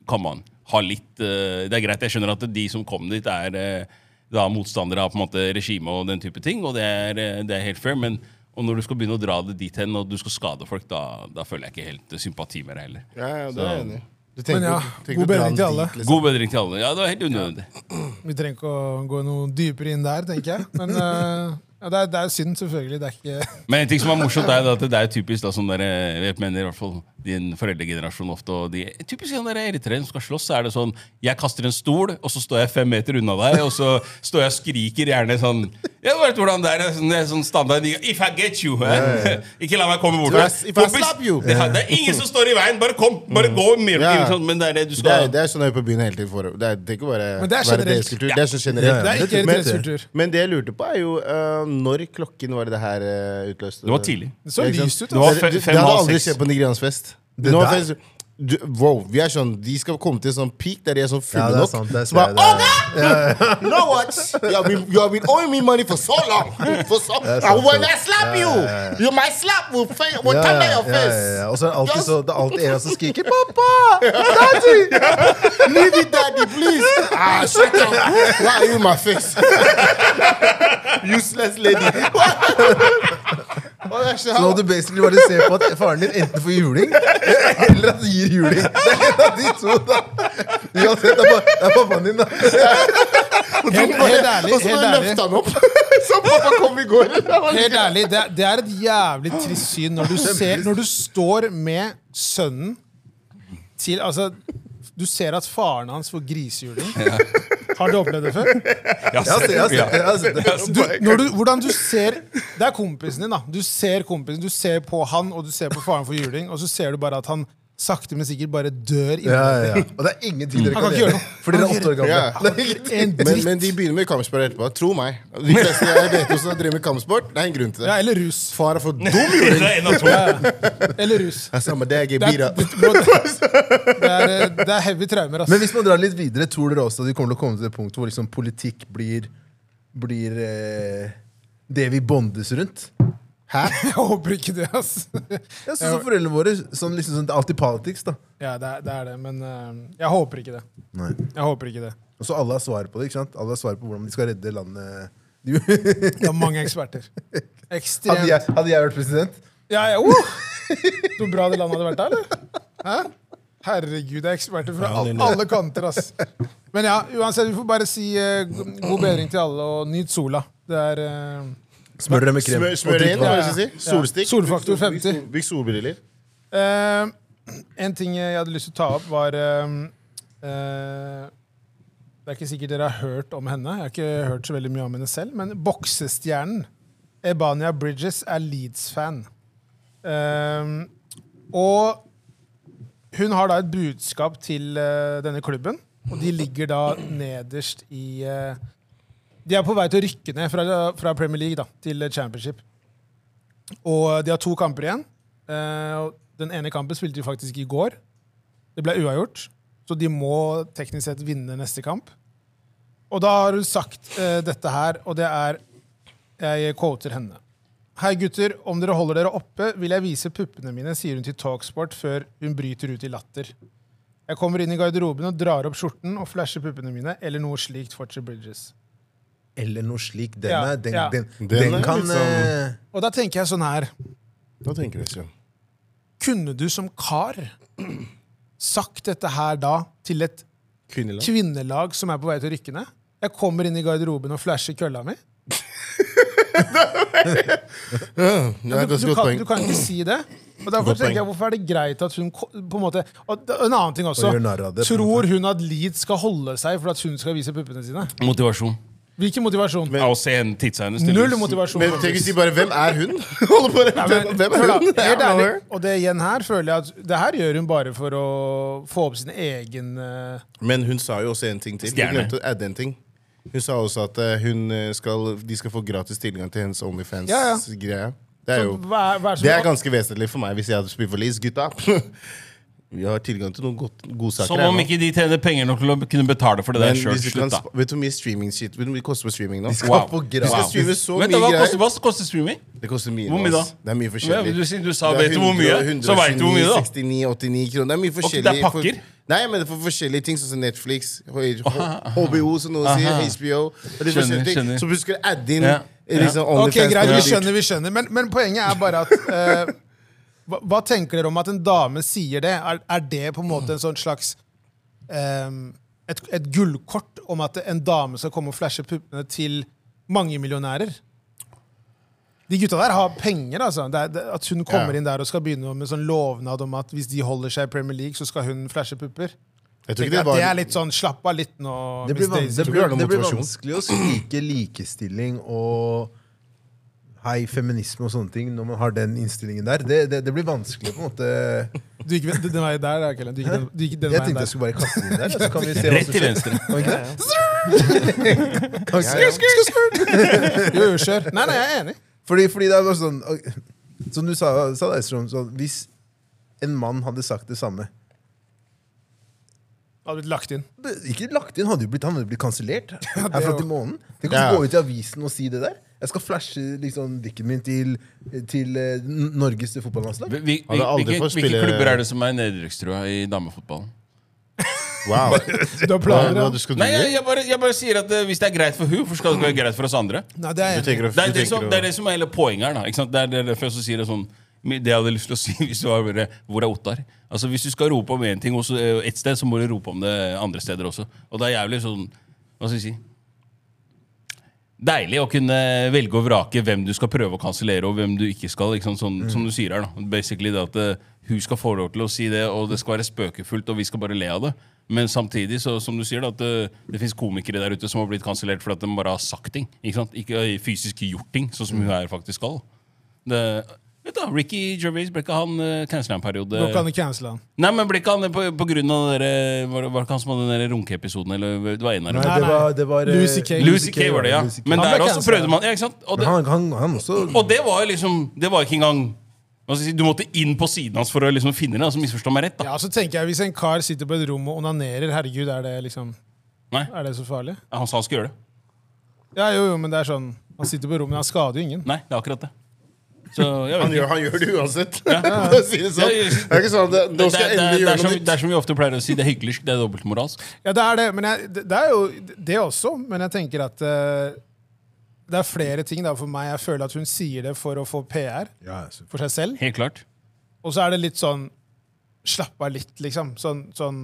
Come on. Ha litt eh, Det er greit. Jeg skjønner at de som kom dit, er eh, da motstandere av på en måte regimet og den type ting, og det er, eh, det er helt fair. men og når du skal begynne å dra det dit hen, og du skal skade folk, da, da føler jeg ikke helt sympati med deg heller.
Ja, ja, det er jeg enig i. Du
Sånn. Men ja,
jo- tenker
god
å dra
bedring
den
til alle.
dit, liksom.
God bedring til alle. Ja, det var helt unødvendig.
Vi trenger ikke å gå noe dypere inn der, tenker jeg. Men eh, ja, det, er, det er synd, selvfølgelig. Det er ikke
Men en ting som er morsomt, er jo at det er typisk da, sånn der, eh, jeg mener i hvert fall din foreldregenerasjon ofte, og de typisk sånn der eritreere som skal slåss, så er det sånn, jeg kaster en stol, og så står jeg fem meter unna deg, og så står jeg og skriker gjerne sånn, jeg vet hvordan det er, det er sånn, det er sånn standard, if I get you, eh, *laughs* ikke la meg komme bort.
If I- if I
Kompis,
slap you. Mm.
Det, er- det er ingen som står i veien, bare kom, bare gå mer,
Ja.
sånn, men det er det du
Det er,
skal...
det er sånn jeg er på byen hele tiden. For, det, er, det er ikke bare
Men det er
bare
generelt.
deres kultur. Det er sånn generelt.
Det er ikke
Men-
deres kultur.
Men det jeg lurte på, er jo øh, når klokken var det det her øh, utløste
Det var tidlig.
Det så
Ja, ikke sant?
lyst ut,
Det, var
altså.
fe-
Fem-
det hadde
halv
aldri
seks.
skjedd på Nigerians fest.
Det
Nå,
der-
faktisk, du, wow, vi er sånn, De skal komme til en sånn peak der de er sånn fulle
Ja, det er
nok.
sant, det
så bare
ser jeg, det
"Okay, *laughs* you know what? You have been, you have been owing me money for so
*laughs*
long! For so, and when I slap you, you my slap will, fa- will
Ja, ja,
turn on
ja,
your face!
ja, ja. Og så er det alltid,
Just- *laughs*
så, det er alltid en som skriker 'pappa'!
Leave it, daddy, please. Ah, shut up. Why are you in
*laughs*
my face? Useless lady. Hva er det
Så nå
som
du basically bare ser på at faren din enten får juling, eller at han gir juling. Det er en av de to, da. Uansett, det er pa- det er pappaen din, da.
Helt, helt ærlig,
Og så
helt
bare
ærlig,
løfte han opp. *laughs* Som pappa kom i går.
helt ærlig det, er- det er et jævlig trist syn når du, ser, når du står med sønnen til Altså, du ser at faren hans får grisehjuling. Har du opplevd det før?
Jeg
Ja,
har sett- jeg har sett det, jeg har sett det.
du, når du, hvordan du ser Det er kompisen din, da. Du ser kompisen, du ser på han, og du ser på faren for juling, og så ser du bare at han sakte, men sikkert bare dør inni *laughs*
Ja, ja, ja. Og det er ingenting dere
Han
kan
kan ikke
gjøre.
gjøre noe.
For dere er åtte år gamle.
Ja.
en
Men,
dritt.
men de begynner med kampsport etterpå. Tro meg. De fleste jeg vet om som driver med kampsport, det er en grunn til
Ja,
det.
eller rus. *laughs*
Far er for dum.
Det er en av to.
Eller rus.
Det er samme det jeg
Det er,
bira.
det, må- det er, eh, det er heavy traumer,
Men
ass.
hvis man drar litt videre, tror dere også at vi kommer til å komme til det punktet hvor liksom politikk blir, blir eh, det vi bondes rundt?
Hæ?
*laughs* Jeg håper ikke det, ass. *laughs*
Ja, sånn som foreldrene våre. Sånn, liksom, sånn, det er alltid politics, da.
Ja, det er det, er det men eh, jeg håper ikke det.
Nei.
Jeg håper ikke det.
Og så alle har svar på det. ikke sant? Alle har svar på hvordan de skal redde landet. *laughs* De-
Det er mange eksperter.
hadde,
Ekstremt.
jeg, hadde jeg vært president?
Ja, ja, oh! Så bra det landet hadde vært der, eller? Hæ? Herregud, det er eksperter fra alle, alle kanter, ass. Men ja, uansett, vi får bare si eh, go- god bedring til alle, og nyt sola. Det er eh,
Smør det med krem.
Smør, smør inn, hva
ja,
vil
ja.
jeg si?
Ja.
Solstikk.
Solfaktor
Bygg sol- bygg sol-
50.
Bygg solbriller.
eh, En ting jeg hadde lyst til å ta opp, var eh, eh, Det er ikke sikkert dere har hørt om henne. Jeg har ikke hørt så veldig mye om henne selv, men boksestjernen Ebania Bridges er Leeds-fan. Eh, og hun har da et budskap til eh, denne klubben, og de ligger da nederst i eh, De er på vei til å rykke ned fra, fra Premier League da, til eh, Championship. Og eh, de har to kamper igjen. Eh, og den ene kampen spilte de faktisk i går. Det ble uavgjort, så de må teknisk sett vinne neste kamp. Og da har hun sagt eh, dette her, og det er Jeg quoter henne. Hei gutter, om dere holder dere oppe, vil jeg vise puppene mine, sier hun til Talksport før hun bryter ut i latter. Jeg kommer inn i garderoben og drar opp skjorten og flasher puppene mine, eller noe slikt, fortsetter Bridges.
Eller noe slik. Den,
Ja,
er, den,
ja.
den,
Den
den,
er
kan
litt sånn-
eh,
Og da tenker jeg sånn her
Hva tenker du, Sian?
Kunne du som kar sagt dette her da til et
Kvinneland?
kvinnelag som er på vei til å rykke ned? Jeg kommer inn i garderoben og flasher kølla mi?
Ja,
Du,
det er
du,
et godt
kan, du
poeng.
kan ikke si det. Og derfor
Godt poeng.
tenker jeg, Hvorfor er det greit at hun ko- på en måte, og d- En annen ting også.
Og gjør narr av det, på en
Tror hun at Leeds skal holde seg for at hun skal vise puppene sine?
Motivasjon.
Hvilken motivasjon?
Ja, å se en tidsa hennes.
Null
tydeligvis.
motivasjon.
Men tenk å si bare 'Hvem er
*laughs*
hun?' Holder på å
Ja,
repetere.
men-
Hvem
hør
er
da,
hun? I
Helt
don't know
ærlig,
her.
og det igjen her føler jeg at det her gjør hun bare for å få opp sin egen eh,
Men hun sa jo også en ting til.
Stjerne.
Hun glemte å adde en ting. Hun sa også at eh, hun eh, skal, de skal få gratis tilgang til hennes
Ja, ja.
Onlyfans-greie. Det er jo
hva er, hva er som-
det er ganske vesentlig for meg hvis jeg hadde spilt for Liz. Gutta! *laughs* Vi har tilgang til noen godt, godsaker.
Som
her
om
nå.
ikke de tjener penger nok til å kunne betale for det
Men
der sjøl.
hvis du kan,
Slutt, da.
sp- vet du hvor mye streaming-shit Vet du hvor mye det koster på streaming nå?
De skal
Wow.
få
Vi skal
gratis.
streame så
Vent, da,
mye
hva, koster,
greier.
hva koster streaming?
Det koster mye.
Hvor mye
nå,
da?
ass. Det er
Ja,
mye forskjellig.
du sier- du sa,
Det er
vet du hvor mye?
100,
Så vet du hvor mye da.
169, 89 kroner. Det er mye
det
forskjellig.
er pakker?
For, nei, men det er for forskjellige ting, sånn som Netflix, HBO, som noen sier, HBO. Og
Skjønner,
det er forskjellige ting.
skjønner.
Så du skal adde inn
Ja.
liksom,
Ok,
OnlyFans.
greit, vi
Ja.
skjønner, vi skjønner. Men, men poenget er bare at eh, hva, hva tenker dere om at en dame sier det? Er, er det på en måte en sånn slags ehm, et, et gullkort om at en dame skal komme og flashe puppene til mange millionærer? De gutta der har penger, altså. Det er, det, at hun kommer
Ja.
inn der og skal begynne med sånn lovnad om at hvis de holder seg i Premier League, så skal hun flashe pupper.
Jeg tror
Tenker
ikke det
jeg at Det er
var
litt sånn Slapp av litt nå.
Det
Miss
blir, van
Daisy.
det
tror
blir,
jeg er noe
det blir
motivasjon.
vanskelig å snike likestilling og hei, feminisme og sånne ting når man har den innstillingen der. Det, det, det blir vanskelig på en måte.
Du gikk den den veien der, da, Kellen. Du gikk den, du gikk den
Jeg
veien
tenkte jeg
der.
skulle bare kaste den der. Så kan *laughs* vi se hva
Rett
som
til
skjer.
venstre.
Kan vi ikke det? Kan vi ikke
Ja, ja.
det?
*laughs* Jo, jo, kjør. Nei, nei, jeg er enig.
Fordi, fordi det er bare sånn ok, Som du sa, sa der, Strøm, sånn, hvis en mann hadde sagt det samme
Hadde blitt lagt inn.
Ikke lagt inn, hadde jo blitt, han hadde blitt *laughs* kansellert herfra
jo.
til månen. Tenk å
Ja.
gå ut i avisen og si det der. Jeg skal flashe liksom, dikken min til, til eh, N- Norges fotballandslag.
Vi, vi, vi,
Hadde aldri
hvilke,
fått
hvilke
spille-
klubber er det som er nedrykkstrua i damefotballen? *laughs*
Wow.
Du har
Hva,
planer,
hva
ja.
du skal du
Nei, jeg,
gjøre?
jeg, bare, jeg bare sier at eh, hvis det er greit for hun, hvorfor skal det ikke være greit for oss andre?
Nei, det er jeg
Du
enig i.
tenker å-
Det er
du
det, som,
tenker å-
det er det som er hele poenget her. da ikke sant? Det er det- derfor jeg også sier det sånn Det jeg hadde lyst til å si *laughs* hvis det var bare Hvor er Ottar? Altså Hvis du skal rope om én ting hos, eh, et sted, så må du rope om det andre steder også. Og det er jævlig sånn Hva skal jeg si? Deilig å kunne velge og vrake hvem du skal prøve å kansellere, og hvem du ikke skal. Ikke sant? Sånn,
Mm.
Som du sier her. da Basically det at eh, Hun skal få lov til å si det, og det skal være spøkefullt, og vi skal bare le av det. Men samtidig, så, som du sier, da, at eh, det fins komikere der ute som har blitt kansellert fordi at de bare har sagt ting. Ikke, sant? ikke eh, fysisk gjort ting, sånn som
Mm.
hun her faktisk skal. Det, vet du, Ricky Gervais ble ikke han uh, cancella en periode?
Nå kan du cancele han.
Nei, men ble ikke han det på, på grunn av den der, eh, var, det- var det ikke han som hadde den der runkeepisoden? Eller det var en av dem?
Nei,
det var, det var eh,
Lucy Kay.
Lucy Kay var det, ja.
Lucy Kay.
Men
Han
der
ble
også
cancelled.
prøvde man ja, ikke sant? Og
Men
det,
han, han, han også
og det var jo liksom Det var ikke engang hva skal jeg si, Du måtte inn på siden hans for å liksom finne det. Altså misforstå meg rett, da.
Ja, så tenker jeg Hvis en kar sitter på et rom og onanerer, herregud, er det liksom
Nei,
Er det så farlig?
Han sa han skulle gjøre det.
Ja, jo, jo, men det er sånn Han sitter på rommet, han skader jo ingen.
Nei, det er akkurat det. Så jeg
Han
vet ikke.
gjør, han gjør det uansett. *laughs* For å si det sånn.
Ja, ja.
Det er ikke sånn at det-
Det,
nå skal
er-
jeg
det, er- det,
endelig
er
gjøre
som,
noe
det
nytt.
er som vi ofte pleier å si, det er hyklersk, det er altså. dobbeltmoralsk.
Ja, det er det, men jeg, det det er jo det også. Men jeg tenker at eh, det er flere ting da for meg. Jeg føler at hun sier det for å få PR
Ja, så-
for seg selv.
Helt klart.
Og så er det litt sånn Slapp av litt, liksom. Sånn, sånn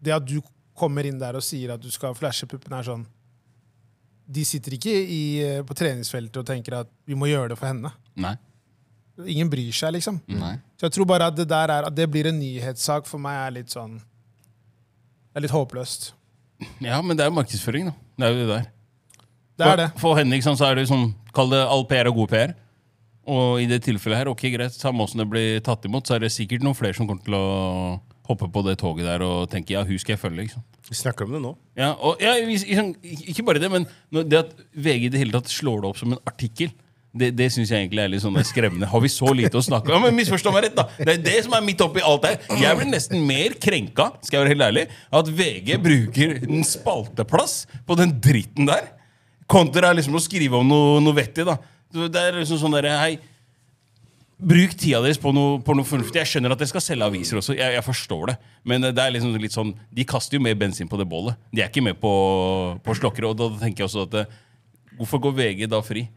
Det at du kommer inn der og sier at du skal flashe puppene, er sånn De sitter ikke i, på treningsfeltet og tenker at vi må gjøre det for henne.
Nei.
Ingen bryr seg, liksom.
Nei.
Så jeg tror bare at det der er At det blir en nyhetssak for meg, er litt sånn Det er litt håpløst.
Ja, men det er jo markedsføring, da. Det er jo det der.
Det er det.
For, for henne ikke sant, så er det jo sånn Kall det all PR og god PR. Og i det tilfellet her, ok greit, samme åssen det blir tatt imot, så er det sikkert noen flere som kommer til å hoppe på det toget der og tenke ja, hun skal jeg følge. liksom.
Vi snakker om det nå.
Ja, og ja, vi- liksom, Ikke bare det, men når- det at VG i det hele tatt slår det opp som en artikkel, det, det syns jeg egentlig er litt sånn skremmende. Har vi så lite å snakke om? Ja, men Misforstå meg rett, da! Det er det som er midt oppi alt her. Jeg blir nesten mer krenka, skal jeg være helt ærlig, at VG bruker en spalteplass på den dritten der, kontra liksom å skrive om noe, noe vettig, da. Det er liksom sånn derre Hei. Bruk tida deres på noe, på noe fornuftig. Jeg skjønner at dere skal selge aviser også. Jeg, jeg forstår det. Men eh, det er liksom litt sånn, de kaster jo mer bensin på det bålet. De er ikke med på, på slokkere. Og da tenker jeg også at eh, hvorfor går VG da fri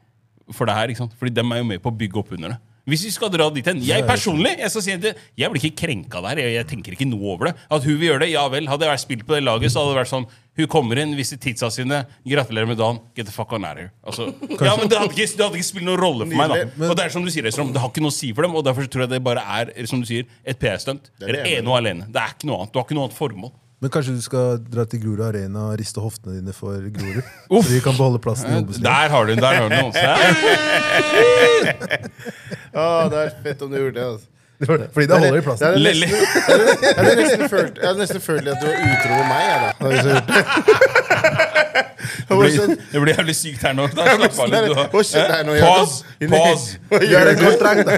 for det her? ikke sant? Fordi dem er jo med på å bygge opp under det. Hvis vi skal dra dit hen Jeg personlig jeg skal si at det- jeg blir ikke krenka der. Jeg, jeg tenker ikke noe over det. At hun vil gjøre det, ja vel. Hadde jeg vært spilt på det laget, så hadde det vært sånn Hun kommer inn, viser tidsa sine, gratulerer med dagen. Get the fuck on out of here. Altså, ja, men det hadde, ikke, det hadde ikke spilt noen rolle for meg. da
Nydelig, men-
Og det er som du sier, Estrom, det har ikke noe å si for dem. Og derfor så tror jeg det bare er som du sier, et PR-stunt.
Det er det
Dere
jeg
er ene og alene. Det er ikke noe annet. Du har ikke noe annet formål.
Men kanskje du skal dra til Grorud Arena og riste hoftene dine for
*laughs*
Grorud? så vi kan beholde plassen i Obos-ligaen.
Der har du der har du altså. noe. Se her.
Å, det er fett om du gjorde det. altså.
Det var det. Fordi det holder i plassen.
Det er
Lille.
nesten- Jeg hadde nesten følt- jeg hadde nesten følt at du var utro med meg. Jeg, da. Hadde jeg så gjort det. Jeg var sånn,
Det blir jævlig sykt her nå. Da, slapp av litt. du.
Hva skjedde her nå,
Eh, Pause!
Jakob?
Pause!
Hva
Det
gjør
er en
du?
kontrakt, da.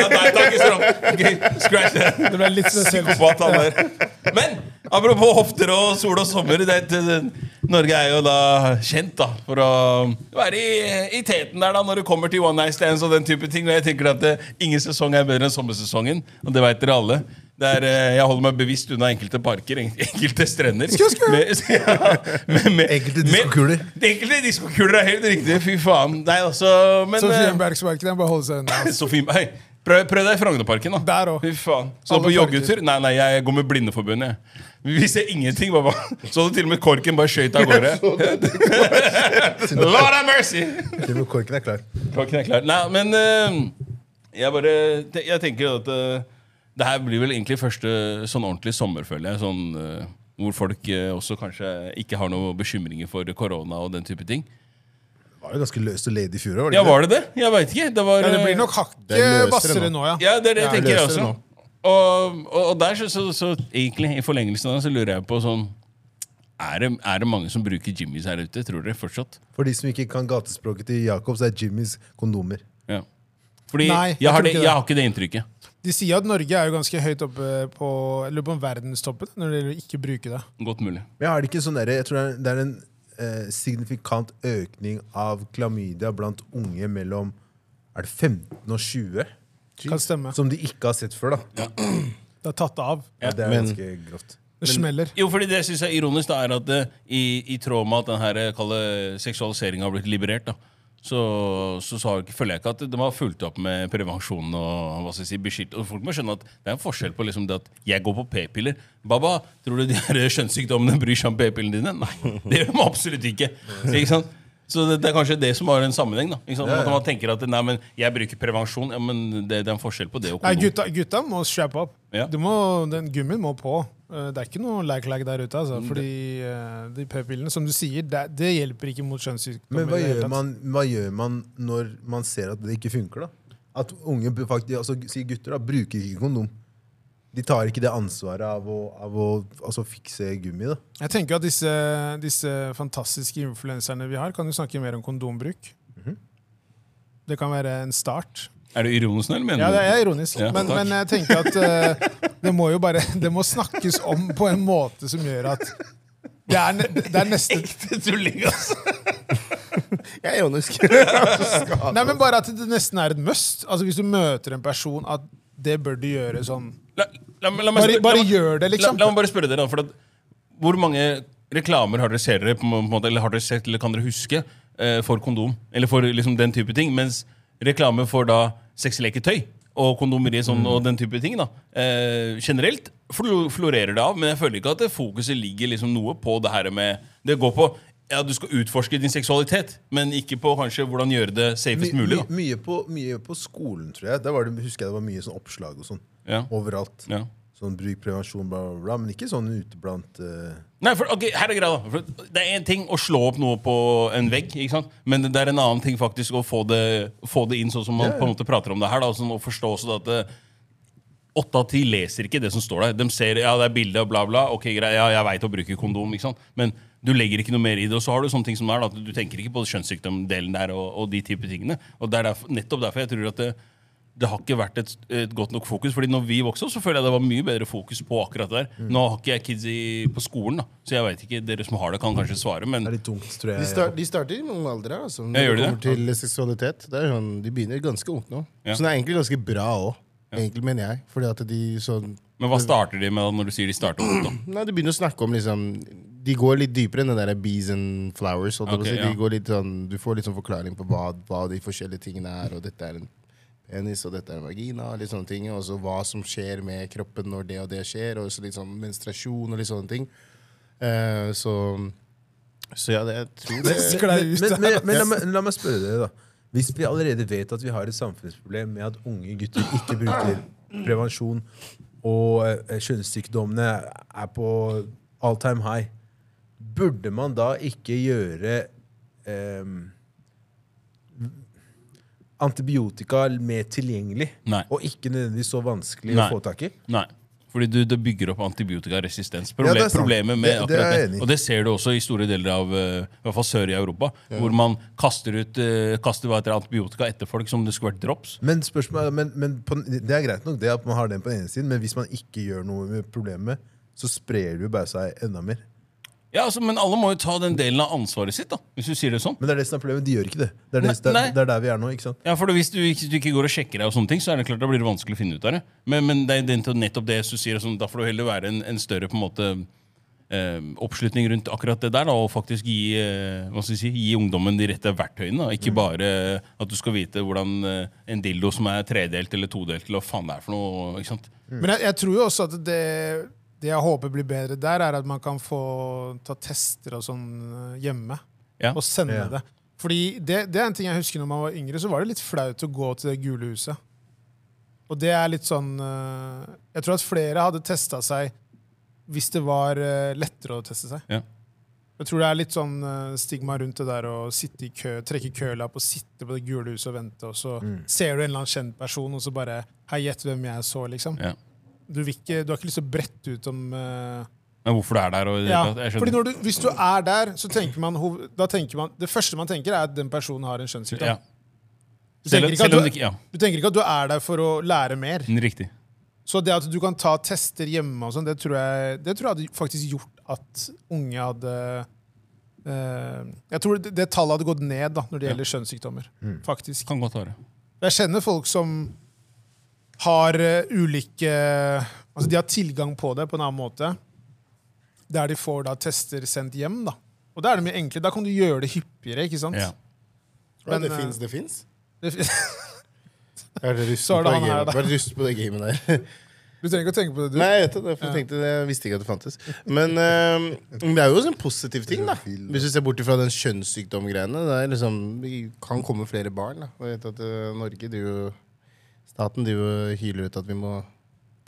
Ja, nei, takk, Estrom. Ok, scratch det.
Det ble litt spesielt.
Psykopat, han der. Men apropos hofter og sol og sommer. Det, det, det, Norge er jo da kjent da for å være i, i teten der da når det kommer til one night stands og den type ting. Og jeg tenker at eh, ingen sesong er bedre enn sommersesongen, og det veit dere alle. Det er, eh, jeg holder meg bevisst unna enkelte parker, en- enkelte strender. Med, *laughs* ja, med, med,
Enkelte diskokuler.
med- Enkelte diskokuler er helt riktig. Fy faen. Nei, altså, men,
Så
eh,
Fjernbergsmarkedet jeg må bare holde seg unna. altså.
Sofie, hei, prøv, prøv deg i Frognerparken, da.
Der også.
Fy faen. Så
Alle
på joggetur? Nei, nei, jeg går med Blindeforbundet. jeg. Vi ser ingenting. Bare, så du til og med korken bare skøyt av gårde? *laughs* Lord have mercy!
Til og med korken er klar.
Korken er klar. Nei, men eh, jeg bare te- Jeg tenker at eh, det her blir vel egentlig første sånn ordentlig sommer, føler jeg. Sånn, eh, hvor folk eh, også kanskje ikke har noen bekymringer for korona og den type ting.
Det var jo ganske løst og ledig i fjor òg.
Ja, var det det? Jeg veit ikke. Det var
Ja, det
eh,
blir nok
Det er
hakket
løsere
hvassere
nå.
nå, ja.
Ja, det er det jeg
Ja,
tenker jeg
løser
også.
det nå.
Og, og, og der så, så, så egentlig i forlengelsen av det så lurer jeg på sånn er det, er det mange som bruker Jimmys her ute, tror dere? Fortsatt?
For de som ikke kan gatespråket til Jakob, så er Jimmys kondomer.
Ja. Fordi
Nei, jeg
jeg, har
tror
det,
ikke det.
jeg har ikke det inntrykket.
De sier at Norge er jo ganske høyt oppe på, jeg lurer på om verdenstoppen når det gjelder å ikke bruke det.
Godt mulig.
Men er det ikke sånn der, jeg tror det er- det er en eh, signifikant økning av klamydia blant unge mellom er det 15 og 20?
Kan stemme.
Som de ikke har sett før. da.
Det er tatt av.
Ja, det er
Men-
ganske grovt.
Det smeller.
Jo, fordi det jeg synes er ironisk, da, er at det, i, i tråd med at den her kalle seksualiseringa har blitt liberert, da, så, så, så har, ikke- føler jeg ikke at de har fulgt opp med prevensjon og hva skal jeg si, beskytt. Og folk må skjønne at det er en forskjell på liksom det at jeg går på p-piller. Baba, tror du de her eh, kjønnssykdommene bryr seg om p-pillene dine? Nei, det gjør de absolutt ikke. ikke sant? Så det, det er kanskje det som har en sammenheng. da ikke sant? At man tenker at nei, men jeg bruker prevensjon. Ja, men det, det er en forskjell på det og
Nei,
kondom.
gutta, gutta må strappe opp.
Ja.
Du må, den gummien må på. Eh, Det er ikke noe lag-lag der ute. Altså,
Mm,
fordi eh, de p-pillene, som du sier, det, det hjelper ikke mot kjønnssykdommer.
Men hva
i det hele
gjør,
tatt.
man, hva gjør man når man ser at det ikke funker? da? At unge, bu- faktisk, altså si gutter, da, bruker ikke kondom. De tar ikke det ansvaret av å, av å altså, fikse gummi. da.
Jeg tenker at disse, disse fantastiske influenserne vi har, kan jo snakke mer om kondombruk.
Mhm.
Det kan være en start.
Er du ironisk nå, eller mener
Ja,
du
det *laughs* er ironisk.
Ja,
men,
takk.
men jeg tenker at eh, det må jo bare Det må snakkes om på en måte som gjør at det er, ne- det er
*laughs*
neste
Ekte tulling, altså!
Jeg er ironisk.
Nei, men bare at det nesten er et must. Altså Hvis du møter en person, at det bør du gjøre sånn.
La, la, meg- la, meg
Bare-
spørre-
bare
la meg-
gjør det, liksom.
La, la meg bare spørre dere, da, for at, hvor mange reklamer har dere ser dere på en måte, eller har dere sett, eller kan dere huske, eh, for kondom? Eller for liksom den type ting, mens reklame for da sexleketøy og kondomeri sånn,
Mm.
og den type ting, da. Eh, generelt flo- florerer det av, men jeg føler ikke at det fokuset ligger liksom noe på det her med Det går på ja, du skal utforske din seksualitet, men ikke på kanskje hvordan gjøre det safest
My-
mulig.
my-
da.
mye, på, mye på skolen, tror jeg. Der var det, husker jeg det var mye sånn oppslag og sånn.
Ja.
Overalt.
Ja.
Sånn bruk prevensjon, bla, bla, bla. Men ikke sånn ute blant eh,
Nei, for, ok, her er greia da for Det er en ting å slå opp noe på en vegg ikke sant? Men det er en annen ting faktisk å få det, få det inn Sånn som man på en måte prater om det her da, og sånn, Og forstå også da at det, Åtte av ti leser ikke det som står der De ser, ja det er bildet og bla bla Ok, greit, ja jeg vet å bruke kondom ikke sant? Men du legger ikke noe mer i det Og så har du sånne ting som det er da at Du tenker ikke på kjønnssykdomdelen der og, og de type tingene Og det er derfor, nettopp derfor jeg tror at det, det har ikke vært et, et godt nok fokus. Fordi når vi vokste opp, så føler jeg det var mye bedre fokus på akkurat det
Mm.
der. Nå har ikke jeg kids i, på skolen, da. så jeg vet ikke. Dere som har det, kan kanskje svare. Men
Det er litt tungt, tror
De,
jeg.
star- de starter i noen alder her, altså.
Ja,
Når
gjør de
det kommer til seksualitet. Det er sånn, de begynner ganske ungt nå.
Ja.
Så det er egentlig ganske bra òg. Egentlig, mener jeg. Fordi at de sånn
men hva starter de med da, når du sier de starter opp? da?
Nei, de begynner å snakke om liksom De går litt dypere enn det der bees and flowers. holdt jeg på å
Ok,
si.
ja.
de går litt sånn, du får litt sånn forklaring på hva, hva de forskjellige tingene er, og dette er en penis, og dette er en vagina, og litt sånne ting. Og så hva som skjer med kroppen når det og det skjer, og så litt sånn menstruasjon og litt sånne ting. Eh, så, så ja, det, jeg tror det
Sklei ut
Men,
der.
men, men la, meg, la meg spørre dere, da. Hvis vi allerede vet at vi har et samfunnsproblem med at unge gutter ikke bruker prevensjon, og eh, kjønnssykdommene er på all time high, burde man da ikke gjøre ehm, antibiotika mer tilgjengelig?
Nei.
Og ikke nødvendigvis så vanskelig
Nei.
å få tak i?
Nei. Fordi du, det bygger opp antibiotikaresistens.
Ja,
Problem,
det er sant.
problemet med
Det- det er
akkurat
jeg enig i.
det. Og det ser du også i store deler av eh, i hvert fall sør i Europa, hvor man kaster ut eh, kaster hva heter det, antibiotika etter folk som det skulle vært drops.
Men, spørsmålet, men, men på, den- Det er greit nok det at man har den på den ene siden, men hvis man ikke gjør noe med problemet, så sprer det jo bare seg enda mer.
Ja, altså, Men alle må jo ta den delen av ansvaret sitt, da, hvis du sier det sånn.
Men det er det som er problemet. De gjør ikke det. Det er, det,
Nei,
det,
nei.
er- det er der vi er nå. ikke sant?
Ja, for Hvis du, ikke- du ikke går og sjekker deg, og sånne ting, så er det klart da blir det vanskelig å finne ut av det. Men, men det er den- nettopp det du sier, sånn, da får det heller være en, en større på en måte, eh, oppslutning rundt akkurat det der, da, og faktisk gi, eh, hva skal jeg si, gi ungdommen de rette verktøyene. Da.
Mm.
Ikke bare at du skal vite hvordan eh, en dildo som er tredelt eller todelt, eller hva faen det er for noe. ikke sant?
Men jeg, jeg tror jo også at det, det jeg håper blir bedre der, er at man kan få ta tester og sånn eh, hjemme.
Ja.
Og sende
Ja.
det. Fordi det, det er en ting jeg husker når man var yngre, så var det litt flaut å gå til det gule huset. Og det er litt sånn eh, Jeg tror at flere hadde testa seg hvis det var eh, lettere å teste seg.
Ja.
Jeg tror det er litt sånn eh, stigma rundt det der å sitte i kø, trekke kølapp og sitte på det gule huset og vente, og så ser du en eller annen kjent person, og så bare Hei, gjett hvem jeg så, liksom
Ja.
du, vil ikke, du har ikke lyst til å brette ut om eh,
Men hvorfor det er der og
ja.
jeg skjønner.
Fordi når du, Hvis du er der, så tenker man, hov- da tenker man Det første man tenker, er at den personen har en kjønnssykdom.
ja.
Du,
Selv,
tenker ikke at
selv om det
du,
ikke Ja,
du tenker ikke at du er der for å lære mer.
riktig.
Så det at du kan ta tester hjemme, og sånn, det, tror jeg- det tror jeg hadde faktisk gjort at unge hadde eh, Jeg tror det, det tallet hadde gått ned da, når det
Ja.
gjelder kjønnssykdommer. faktisk.
Kan godt være.
Jeg kjenner folk som har eh, ulike Altså de har tilgang på det på en annen måte. Der de får da tester sendt hjem. Da Og da er det mye enklere. Da kan du gjøre det hyppigere. ikke sant?
Ja.
Ja,
Men,
det
eh,
fins, det fins.
Det-
Er dere rusten
Så er det
på det
han her,
gamet-
da.
Bare rusten på det gamet der.
*laughs* Du trenger ikke å tenke på det. du
Nei, jeg vet det, derfor tenkte jeg, jeg visste ikke at det fantes. Men eh, det er jo også en positiv ting, da. Hvis du ser bort fra den kjønnssykdomgreiene. Det er liksom, vi kan komme flere barn. da. Og jeg vet at eh, Norge driver jo Staten driver jo og hyler ut at vi må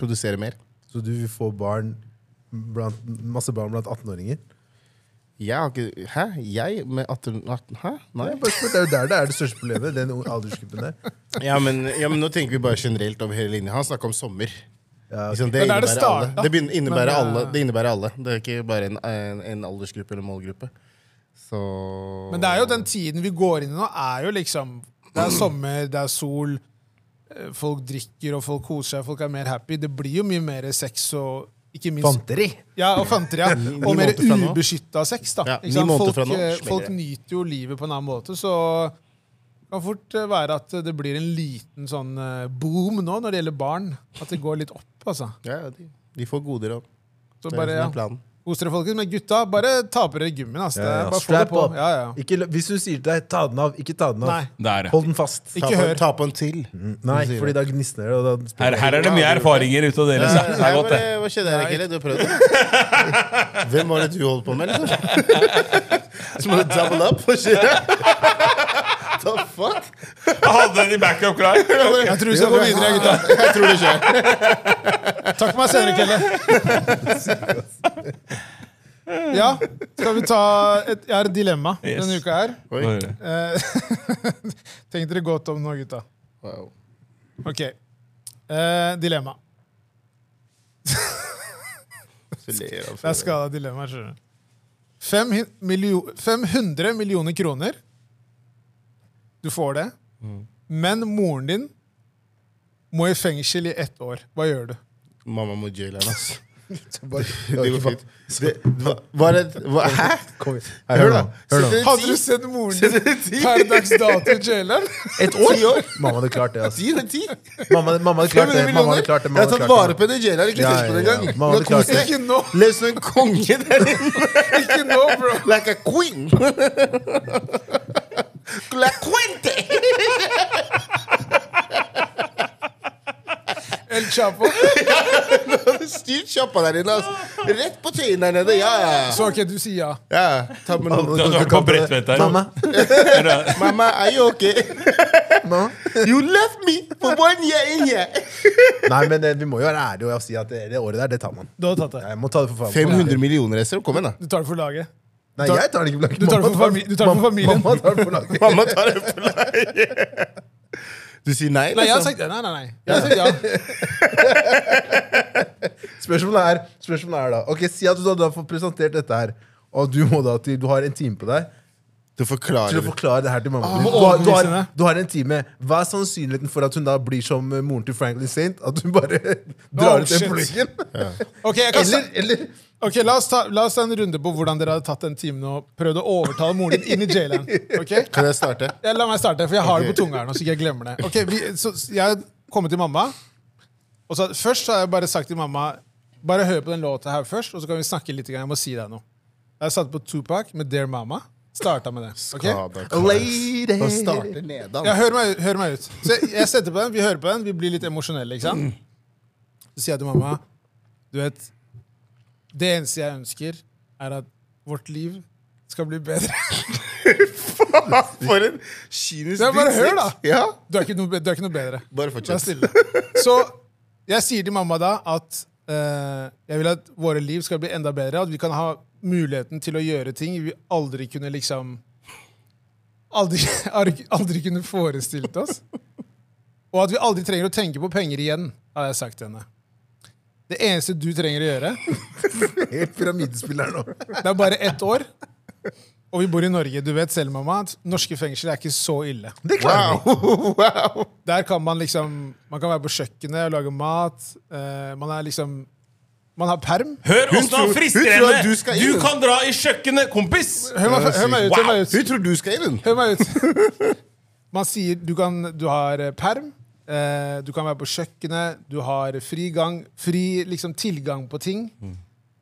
produsere mer.
Så du vil få barn blant, masse barn blant 18-åringer?
Jeg har ikke Hæ? Jeg med 18, 18 Hæ? Nei.
Nei, bare spør. Det er jo der det er det største problemet. den aldersgruppen der.
Ja men, ja, men nå tenker vi bare generelt over hele linja. Han snakka om sommer.
Ja,
Ikke sant? Det
Men der det
innebærer alle.
starta.
Det begyn- innebærer,
Men,
alle.
eh,
det innebærer alle. Det er ikke bare en, en, en aldersgruppe eller målgruppe. Så
Men det er jo den tiden vi går inn i nå, er jo liksom Det er sommer, det er sol, eh, folk drikker og folk koser seg, folk er mer happy. Det blir jo mye mer sex og ikke minst
Fanteri!
Ja, og fanteri,
*laughs*
ja. Og mer
måneder fra nå.
ubeskytta sex, da.
Ja,
Ikke
ni
sant?
måneder
folk,
fra nå,
eh,
smeller
folk
det.
nyter jo livet på en annen måte, så det kan fort eh, være at det blir en liten sånn eh, boom nå når det gjelder barn. At det går litt opp, altså.
ja, ja, de, de får gode råd.
Så
Det er
bare
det som
ja.
er planen.
kos dere, folkens. Men gutta, bare ta på dere gymmen. Altså.
Ja, ja.
Bare få det
Strap
på.
up.
Ja,
*laughs*
ja.
Ikke, la- hvis hun sier til deg 'ta den av', ikke ta den av.
Nei,
Der, ja.
Hold den fast.
ikke
ta, på,
hør.
ta på en til.
Nei, fordi da gnisner det. Og da
Her, her er det mye erfaringer ute å dele.
Ja,
så Det er
jeg
godt, det.
bare- Hva skjedde her, Akele? Du har prøvd det? *laughs* Hvem var det du holdt på med, liksom? *laughs* Så må du double up? Hva skjer? *laughs* The fuck?
Jeg hadde den i backup klar.
Jeg tror vi skal gå videre, gutta.
*laughs* Jeg tror det skjer.
Takk for meg senere, Kelle.
*laughs*
Ja, skal vi ta et, Jeg har et dilemma denne
Yes.
uka her.
Oi.
Eh, *laughs* Tenk dere godt om nå, gutta.
Wow.
Ok. Eh, dilemma.
Så ler jeg av
Det er skada dilemma. skjønner du. Fem hi- milio- 500 millioner kroner. Du får det. Men moren din må i fengsel i ett år. Hva gjør du?
Mamma må jaile henne, *laughs* ass. Det går
det.
fint. Det- hva- Var det hva, *laughs* Hæ? Hør, da.
Hør da.
Hadde du sett moren din per dags dato i jaileren?
Et år? Mamma hadde klart det. altså.
Ti eller ti?
Mamma, mamma hadde klart det.
500
Mamma hadde klart det.
millioner?
mamma
Jeg
hadde
har tatt
klart
vare på henne i jaileren. Ikke
Ja,
tenkt på det
ja, ja.
engang.
Mamma hadde
Nå koser
klart
jeg.
det.
Ikke nå!
Lev som en konge der inne.
Ikke nå, bro!
Like a queen. *laughs* La quente!
kjapo.
Styrt kjappa der inne, altså. Rett på tøyen der nede. Ja, ja. ja.
Så ok, du sier ja.
ja. Ta med noe.
Du har vært på Bredtvet her.
Mamma,
Mamma, are you okay?
mamma.
You left me for one year in here.
Nei, men eh, vi må jo være ærlige og si at det, det året der, det tar man.
Du har tatt det.
Jeg må ta det for faen.
500 millioner SR, kom igjen, da.
Du tar det for laget.
Nei, jeg tar det ikke for laget.
Du tar det for
Mamma
fami- du tar det for
mamma-
familien.
Mamma tar det for laget.
Mamma tar det på deg. Du sier nei,
Nei, jeg har
liksom?
sagt Nei, nei, nei. Jeg har sagt ja.
*laughs* Spørsmålet er, spørsmålet er da Ok, Si at du da, da får presentert dette her, og du må da til, du har en time på deg
Du
til å
forklarer.
forklare det her til mamma.
Ah, må
Du, har, du,
overbevise henne.
har, du har en time. Hva er sannsynligheten for at hun da blir som eh, moren til Franklin Saint? At hun bare *laughs* drar ut den
Oh, shit.
pluggen?
Ok, jeg kan sa-
Eller, eller
Ok, la oss, ta, la oss ta en runde på hvordan dere hadde tatt den timen og prøvd å overtale moren din inn i jailen. Ok?
Kan jeg starte?
Ja, la meg starte, for jeg har det på tunga her nå, så ikke jeg glemmer det. Ok, vi, så så Jeg kommer til mamma. Og så, først så har jeg bare sagt til mamma Bare hør på den låta her først, og så kan vi snakke litt. Jeg må si deg noe. Jeg satte på Tupac med Dear Mama. Starta med det. ok?
Skada kar.
Lady.
Han starter nedan.
Ja, hør meg, ut- hør meg ut. Så jeg, jeg setter på den, vi hører på den, vi blir litt emosjonelle, ikke sant? Så sier jeg til mamma, du vet, det eneste jeg ønsker er at vårt liv skal bli bedre. *laughs*
For en kynisk
Ja, bare hør, da.
drittsekk. Ja,
Du er ikke noe, be- du er ikke noe bedre.
bare
Vær
fortsett.
stille. Så jeg sier til mamma da at eh, jeg vil at våre liv skal bli enda bedre, at vi kan ha muligheten til å gjøre ting vi aldri kunne liksom Aldri, *laughs* aldri kunne forestilt oss. Og at vi aldri trenger å tenke på penger igjen, har jeg sagt til henne. Det eneste du trenger å gjøre,
*laughs* Helt pyramidespill her nå.
det er bare ett år. Og vi bor i Norge. Du vet selv, mamma, at norske fengsler er ikke så ille.
Det klarer vi.
Der kan man liksom Man kan være på kjøkkenet og lage mat. eh, man er liksom Man har perm.
Hør åssen han
tror-
frister
hun tror at
henne!
du skal inn.
Du kan dra i kjøkkenet, kompis!
Hør meg, hør meg ut! Hør meg ut!
Hun tror du skal inn, hun.
Hør meg ut. *laughs* Man sier du, kan, du har eh, perm, eh, du kan være på kjøkkenet, du har fri, gang, fri liksom, tilgang på ting.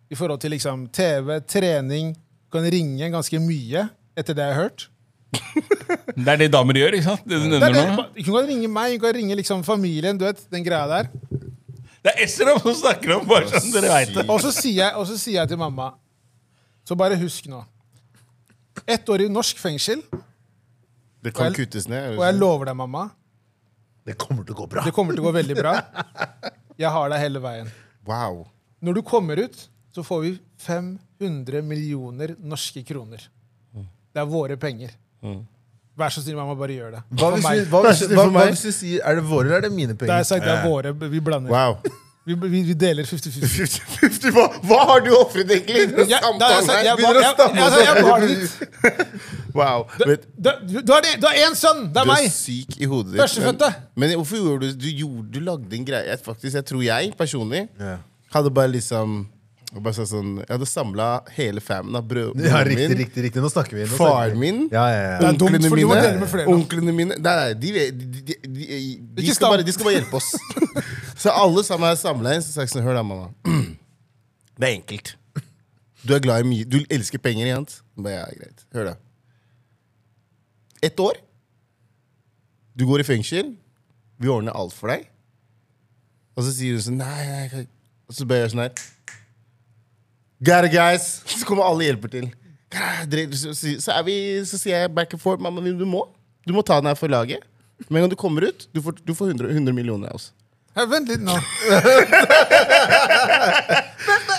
I forhold til liksom, TV, trening. Du kan ringe ganske mye, etter det jeg har hørt.
Det er det damer gjør, ikke sant? Det du
Det er
nevner
det.
nå.
Hun kan ringe meg, hun kan ringe liksom, familien, du vet, den greia der.
Det er Esram som snakker om, bare sånn dere veit det.
Og så sier jeg, og så sier jeg til mamma Så bare husk nå. Ett år i norsk fengsel,
Det kan
Og jeg-
kuttes ned.
og jeg lover deg, mamma,
Det kommer til å gå bra.
det kommer til å gå veldig bra. Jeg har deg hele veien.
Wow.
Når du kommer ut, så får vi 500 millioner norske kroner. Det er våre penger. Vær så snill, mamma, bare gjør det.
Hva
For
hvis,
meg.
du, hva, hvis,
Vær så snill
hva,
for
hva
meg.
hvis du sier Er det våre eller er det mine
Da har jeg
penger?
sagt det er våre, vi blander.
Wow.
Vi, vi, vi deler 50-50.
Fifty, fifty, hva, hva har du ofret egentlig? i denne
Ja, da har jeg
*laughs* samtalen
sagt-
her?
jeg-
Begynner å
jeg-
stamme
jeg- jeg- jeg-
oss.
har det
Wow. Vet,
Du, du har det- du har én sønn! Det
du
er
er
meg!
syk i hodet ditt.
Førstefødte.
Men, men hvorfor gjorde du Du, gjorde, du lagde en greie jeg, faktisk, jeg tror jeg personlig
Ja.
hadde bare liksom jeg bare sa sånn, Jeg hadde samla hele famen av brød,
Ja,
broren
riktig,
min,
riktig, riktig. Nå snakker vi. Nå snakker
faren
vi.
min
Ja, ja, ja.
Det er dumt,
Onklene
for du må
mine,
dele med flere nå.
onklene mine Nei, nei, de, vet- de, de, de, de,
Ikke
skal
stam.
bare, de skal bare hjelpe
*laughs*
oss. så alle sammen er samla inn. Så sa jeg sånn, hør da, mamma. *clears throat* Det er enkelt. Du er glad i mye Du elsker penger, ikke sant? Jeg Bare, ja, greit. Hør, da. Ett år. Du går i fengsel. Vi ordner alt for deg. Og så sier hun sånn Nei, nei, jeg kan ikke». Og så bare gjør jeg sånn her. Got it, guys! Så kommer alle og hjelper til. Dre- Så, så- så, er vi, så sier jeg back and forth. Mamma, du må Du må ta den her for laget. Med en gang du kommer ut, du får, du får 100, 100 millioner av oss.
Ja, Vent litt nå.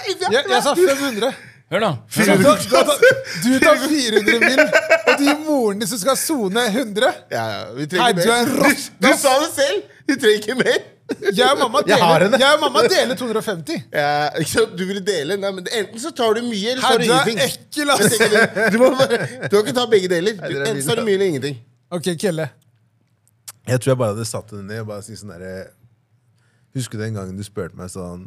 Jeg, jeg sa 500.
Hør, da.
Så da, da, da, du tar 400 mil, og de moren din som skal sone 100.
Ja, ja, vi
Nei,
trenger
du er en
mer.
rass-
Du, du sa det selv! Vi trenger ikke mer.
Jeg og mamma
Jeg har
deler,
henne.
jeg og mamma deler 250.
Ja, ikke sant? Du ville dele. Nei, men enten så tar du mye, eller så
Her,
tar du
du er
ingenting.
ekkel,
Jeg
ass!
tenker det. *laughs* Du, må bare, du kan ikke ta begge deler. Du,
dere er
enten så tar du
vilde.
mye eller ingenting.
Ok, Kelle.
Jeg tror jeg bare hadde satt henne ned og bare sagt sånn derre Husker du den gangen du spurte meg sånn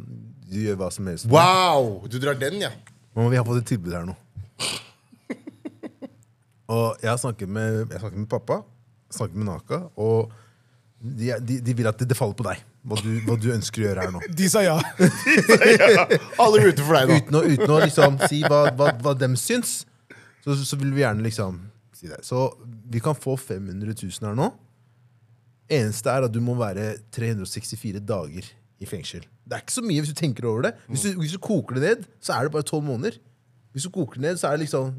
Du gjør hva som helst.
Wow! Du drar den, ja.
Mamma, vi har fått et tilbud her nå. *laughs* Og jeg har snakket med, jeg har snakket med pappa, snakket med Naka, og de, de, de vil at det, det faller på deg, hva du, hva du ønsker å gjøre her nå.
De sa ja.
Alle ruter for deg nå.
Uten å, uten å liksom si hva, hva, hva dem syns, så, så vil vi gjerne liksom si det. Så vi kan få 500 000 her nå. Eneste er at du må være 364 dager i fengsel. Det er ikke så mye hvis du tenker over det. Hvis du, hvis du koker det ned, så er det bare tolv måneder. Hvis du koker det ned, så er det liksom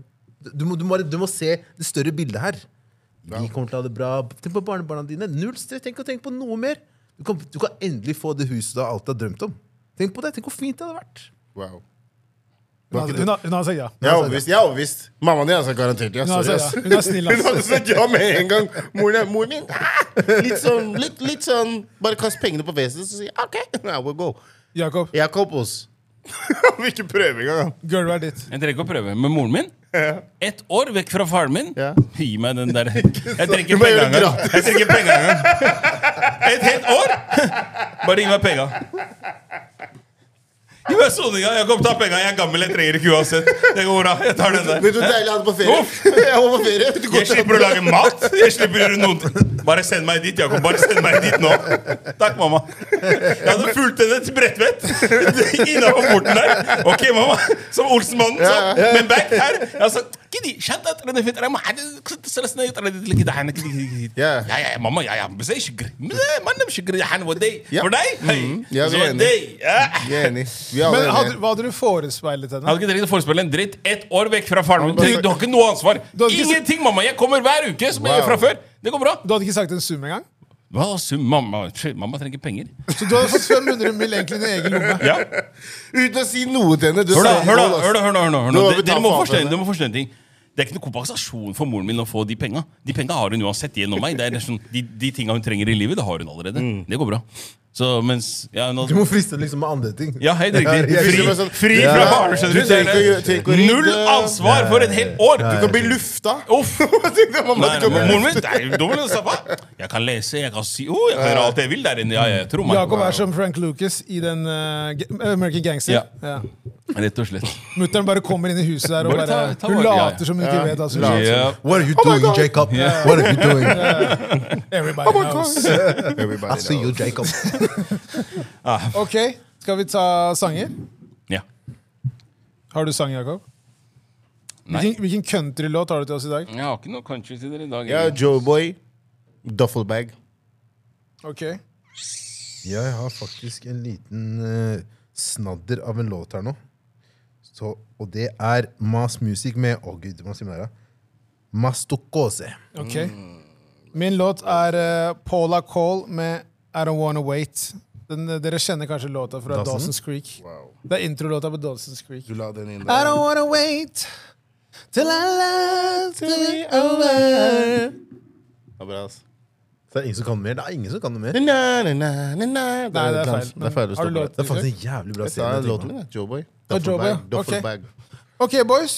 Du må, du må, du må se det større bildet her. Vi kommer til å ha det bra. Tenk på barnebarna dine. Null stress. Tenk å tenke på noe mer. Du kan, du kan endelig få det huset du har alltid har drømt om. Tenk på det. Tenk hvor fint det hadde vært.
Wow.
Hun har- Hun har- hun har sagt ja.
Jeg er overbevist. Jeg er overbevist. Mammaen din altså, garantert ja.
Hun har
Sorry,
sagt
ass.
ja. Hun er snill,
Hun
ass.
hadde sagt ja med en gang. Moren, er, moren din ah, litt sånn, litt, litt sånn Bare kast pengene på fjeset, så sier jeg, OK. I will go.
Jakob,
Jakob Os. Han vil ikke prøve engang. han.
gulvet er ditt.
Jeg trenger ikke å prøve. Med moren min? Ett år vekk fra faren min?
Ja.
Gi meg den der. Jeg trenger ikke
Du må gjøre
penga
det
engang. Jeg trenger ikke penger engang. Et helt år? Bare gi meg penga. Gi meg soninga. Jakob, ta penga. Jeg er gammel, jeg trenger ikke uansett. Det går bra. Jeg tar den der.
Vet du hvor deilig jeg hadde på ferie? Jeg var på ferie. Du
Jeg slipper å lage mat. Jeg slipper å gjøre noen ting. Bare send meg dit, Jakob. Bare send meg dit nå. Takk, mamma. Jeg hadde fulgt henne til Bredtvet. Innafor porten der. Ok, mamma. Som Olsenmannen. Så. Men back her Jeg sa كده شنطة رنا في ترى ما حد كنت سلسنا يطلع لي كده حنا كده يا
Yeah.
يا ماما يا يا بس ايش شكر ما انا مش شكر يا حنا ودي
Yeah.
ودي
Yeah, Mm. vi er enige.
ودي
Vi er enige. Vi er alle
Men hadde,
enige.
hva hadde du forespeilet
Jeg
henne?
hadde ikke trengt å forespille en dritt. Ett år vekk fra faren min. Du har ikke noe ansvar.
Du hadde ikke-
Ingenting, mamma! Jeg kommer hver uke, som jeg
Wow.
gjør fra før. Det går bra.
Du hadde ikke sagt en sum engang?
Hva, sum, mamma, Tj, mamma trenger penger.
Så du hadde fått 500 mil egentlig i din egen lomme?
Ja.
Uten å si noe til henne. Du
Hør, da,
sa-
hør, da, hør, da, hør, da, hør, da, hør da.
Nå må
Dere,
vi ta
dere, må
faen på
forstå,
henne.
dere må forstå en ting. Det er ikke noe kompensasjon for moren min å få de penga. De penga har hun uansett gjennom meg. Det er liksom, de, de tinga hun trenger i livet, det har hun allerede.
Mm.
Det går bra. Så mens ja, nå,
Du må friste det liksom med andre ting.
ja, helt
Ja,
riktig.
jeg
Fri,
skjønner sånn-
fri
Ja.
fra barne, skjønner
Du trenger
du.
ikke
Det
å gjøre- trenger ikke å
er
rydde.
Null ansvar for et helt år!
Du kan bli lufta.
Uff!
Mamma,
Nei,
du kan
men
bli
moren min nei, da må du sa, hva? Jeg kan lese, jeg kan si oh, Jeg kan gjøre alt jeg vil der inne. Ja, jeg tror meg.
Jakob er som Frank Lucas i den eh, Ga- American Gangster.
Ja.
Ja.
Rett og slett.
Mutteren bare kommer inn i huset der og
Bare
bare
ta- ta
Hun
vare- ja, ja.
later som hun ikke vet hva som
Ja.
skjer.
Ja.
sånn, What are you
Oh my
doing,
God.
Jacob? What are you doing?
*laughs*
Everybody knows.
I see you, Jacob.
Ok, skal vi ta sanger?
Ja.
Har du sang, Jakob?
Nei.
Hvilken, hvilken countrylåt har du til oss i dag?
Jeg har ikke noe country til dere i dag.
Ja,
egentlig.
Joeboy. Duffelbag.
Ok,
Jeg har faktisk en liten eh, snadder av en låt her nå. Så, og det er Mas Music med Å, gud, man sier det. Mastokose.
ok Min låt er eh, Paula Cole med I Don't Wanna Wait. Den, eh, dere kjenner kanskje låta fra
Dawson?
Dawson's Creek. Det er introlåta på Dawson's Creek.
Du la den
I
inn der.
don't wanna wait till I love to be over.
Ja, bra, ass.
Så det er ingen som kan mer? Det er ingen som kan noe mer.
Na, na, na, na, na.
Nei, det er feil.
Det er feil å
Har
stå
du låt?
på det.
Det er faktisk en jævlig bra
Jeg sa
scene.
låten min, ja. Joeboy.
Ja, Joeboy,
Duffelbag. Duffelbag.
Ok, boys.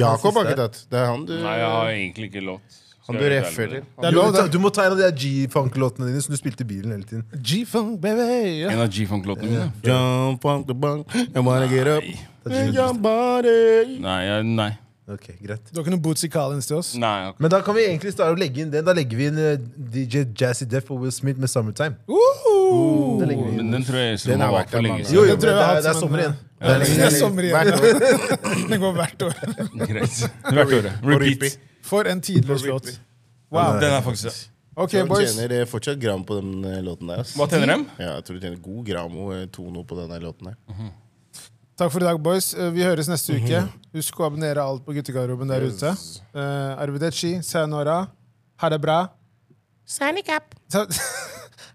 Jakob har ikke tatt. Det er han du,
Nei, jeg har egentlig ikke låt. Skal
han du
jeg være
reffer
ærlig
til.
med
Det er
Du,
lov, det.
du må ta en av de der G-funk-låtene dine som du spilte i bilen hele tiden.
G-funk, baby.
dere.
Ja.
En av G-funk-låtene mine?
Jump on the bunk and wanna get up.
Nei.
Your body.
Nei. Jeg, nei.
Ok, greit.
Du har ikke noe Bootsy Collins til oss?
nei jeg har ikke.
Men da kan vi egentlig starte å legge inn det. Da legger vi inn eh, DJ Jazzy Def og Will Smith med 'Summertime'.
Woohoo!
Det legger vi inn.
Men den tror jeg
Den
som
har
har
vært
vært for
der
lenge
mange
*laughs* Jo,
siden.
jo,
Den
det
tror jeg eh, har
er,
hatt
det er
som en-
sommer igjen.
Det er sommer
Hvert
igjen. Det går hvert år.
Greit. Hvert øre. Repeat.
For en tidløs låt. Wow.
Den er faktisk
Ok,
Han
boys.
tjener eh, fortsatt gram på den eh, låten der. ass.
Hva tjener dem?
Ja, jeg tror du tjener god gram og eh, tono på den der låten der.
Takk for i dag, boys. Eh, Vi høres neste uke. Husk å abonnere alt på guttegarderoben der ute. Uh, Arvideci, sayonara. Ha det bra. *laughs*
Signing up.
Ta-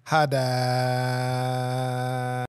Ha det.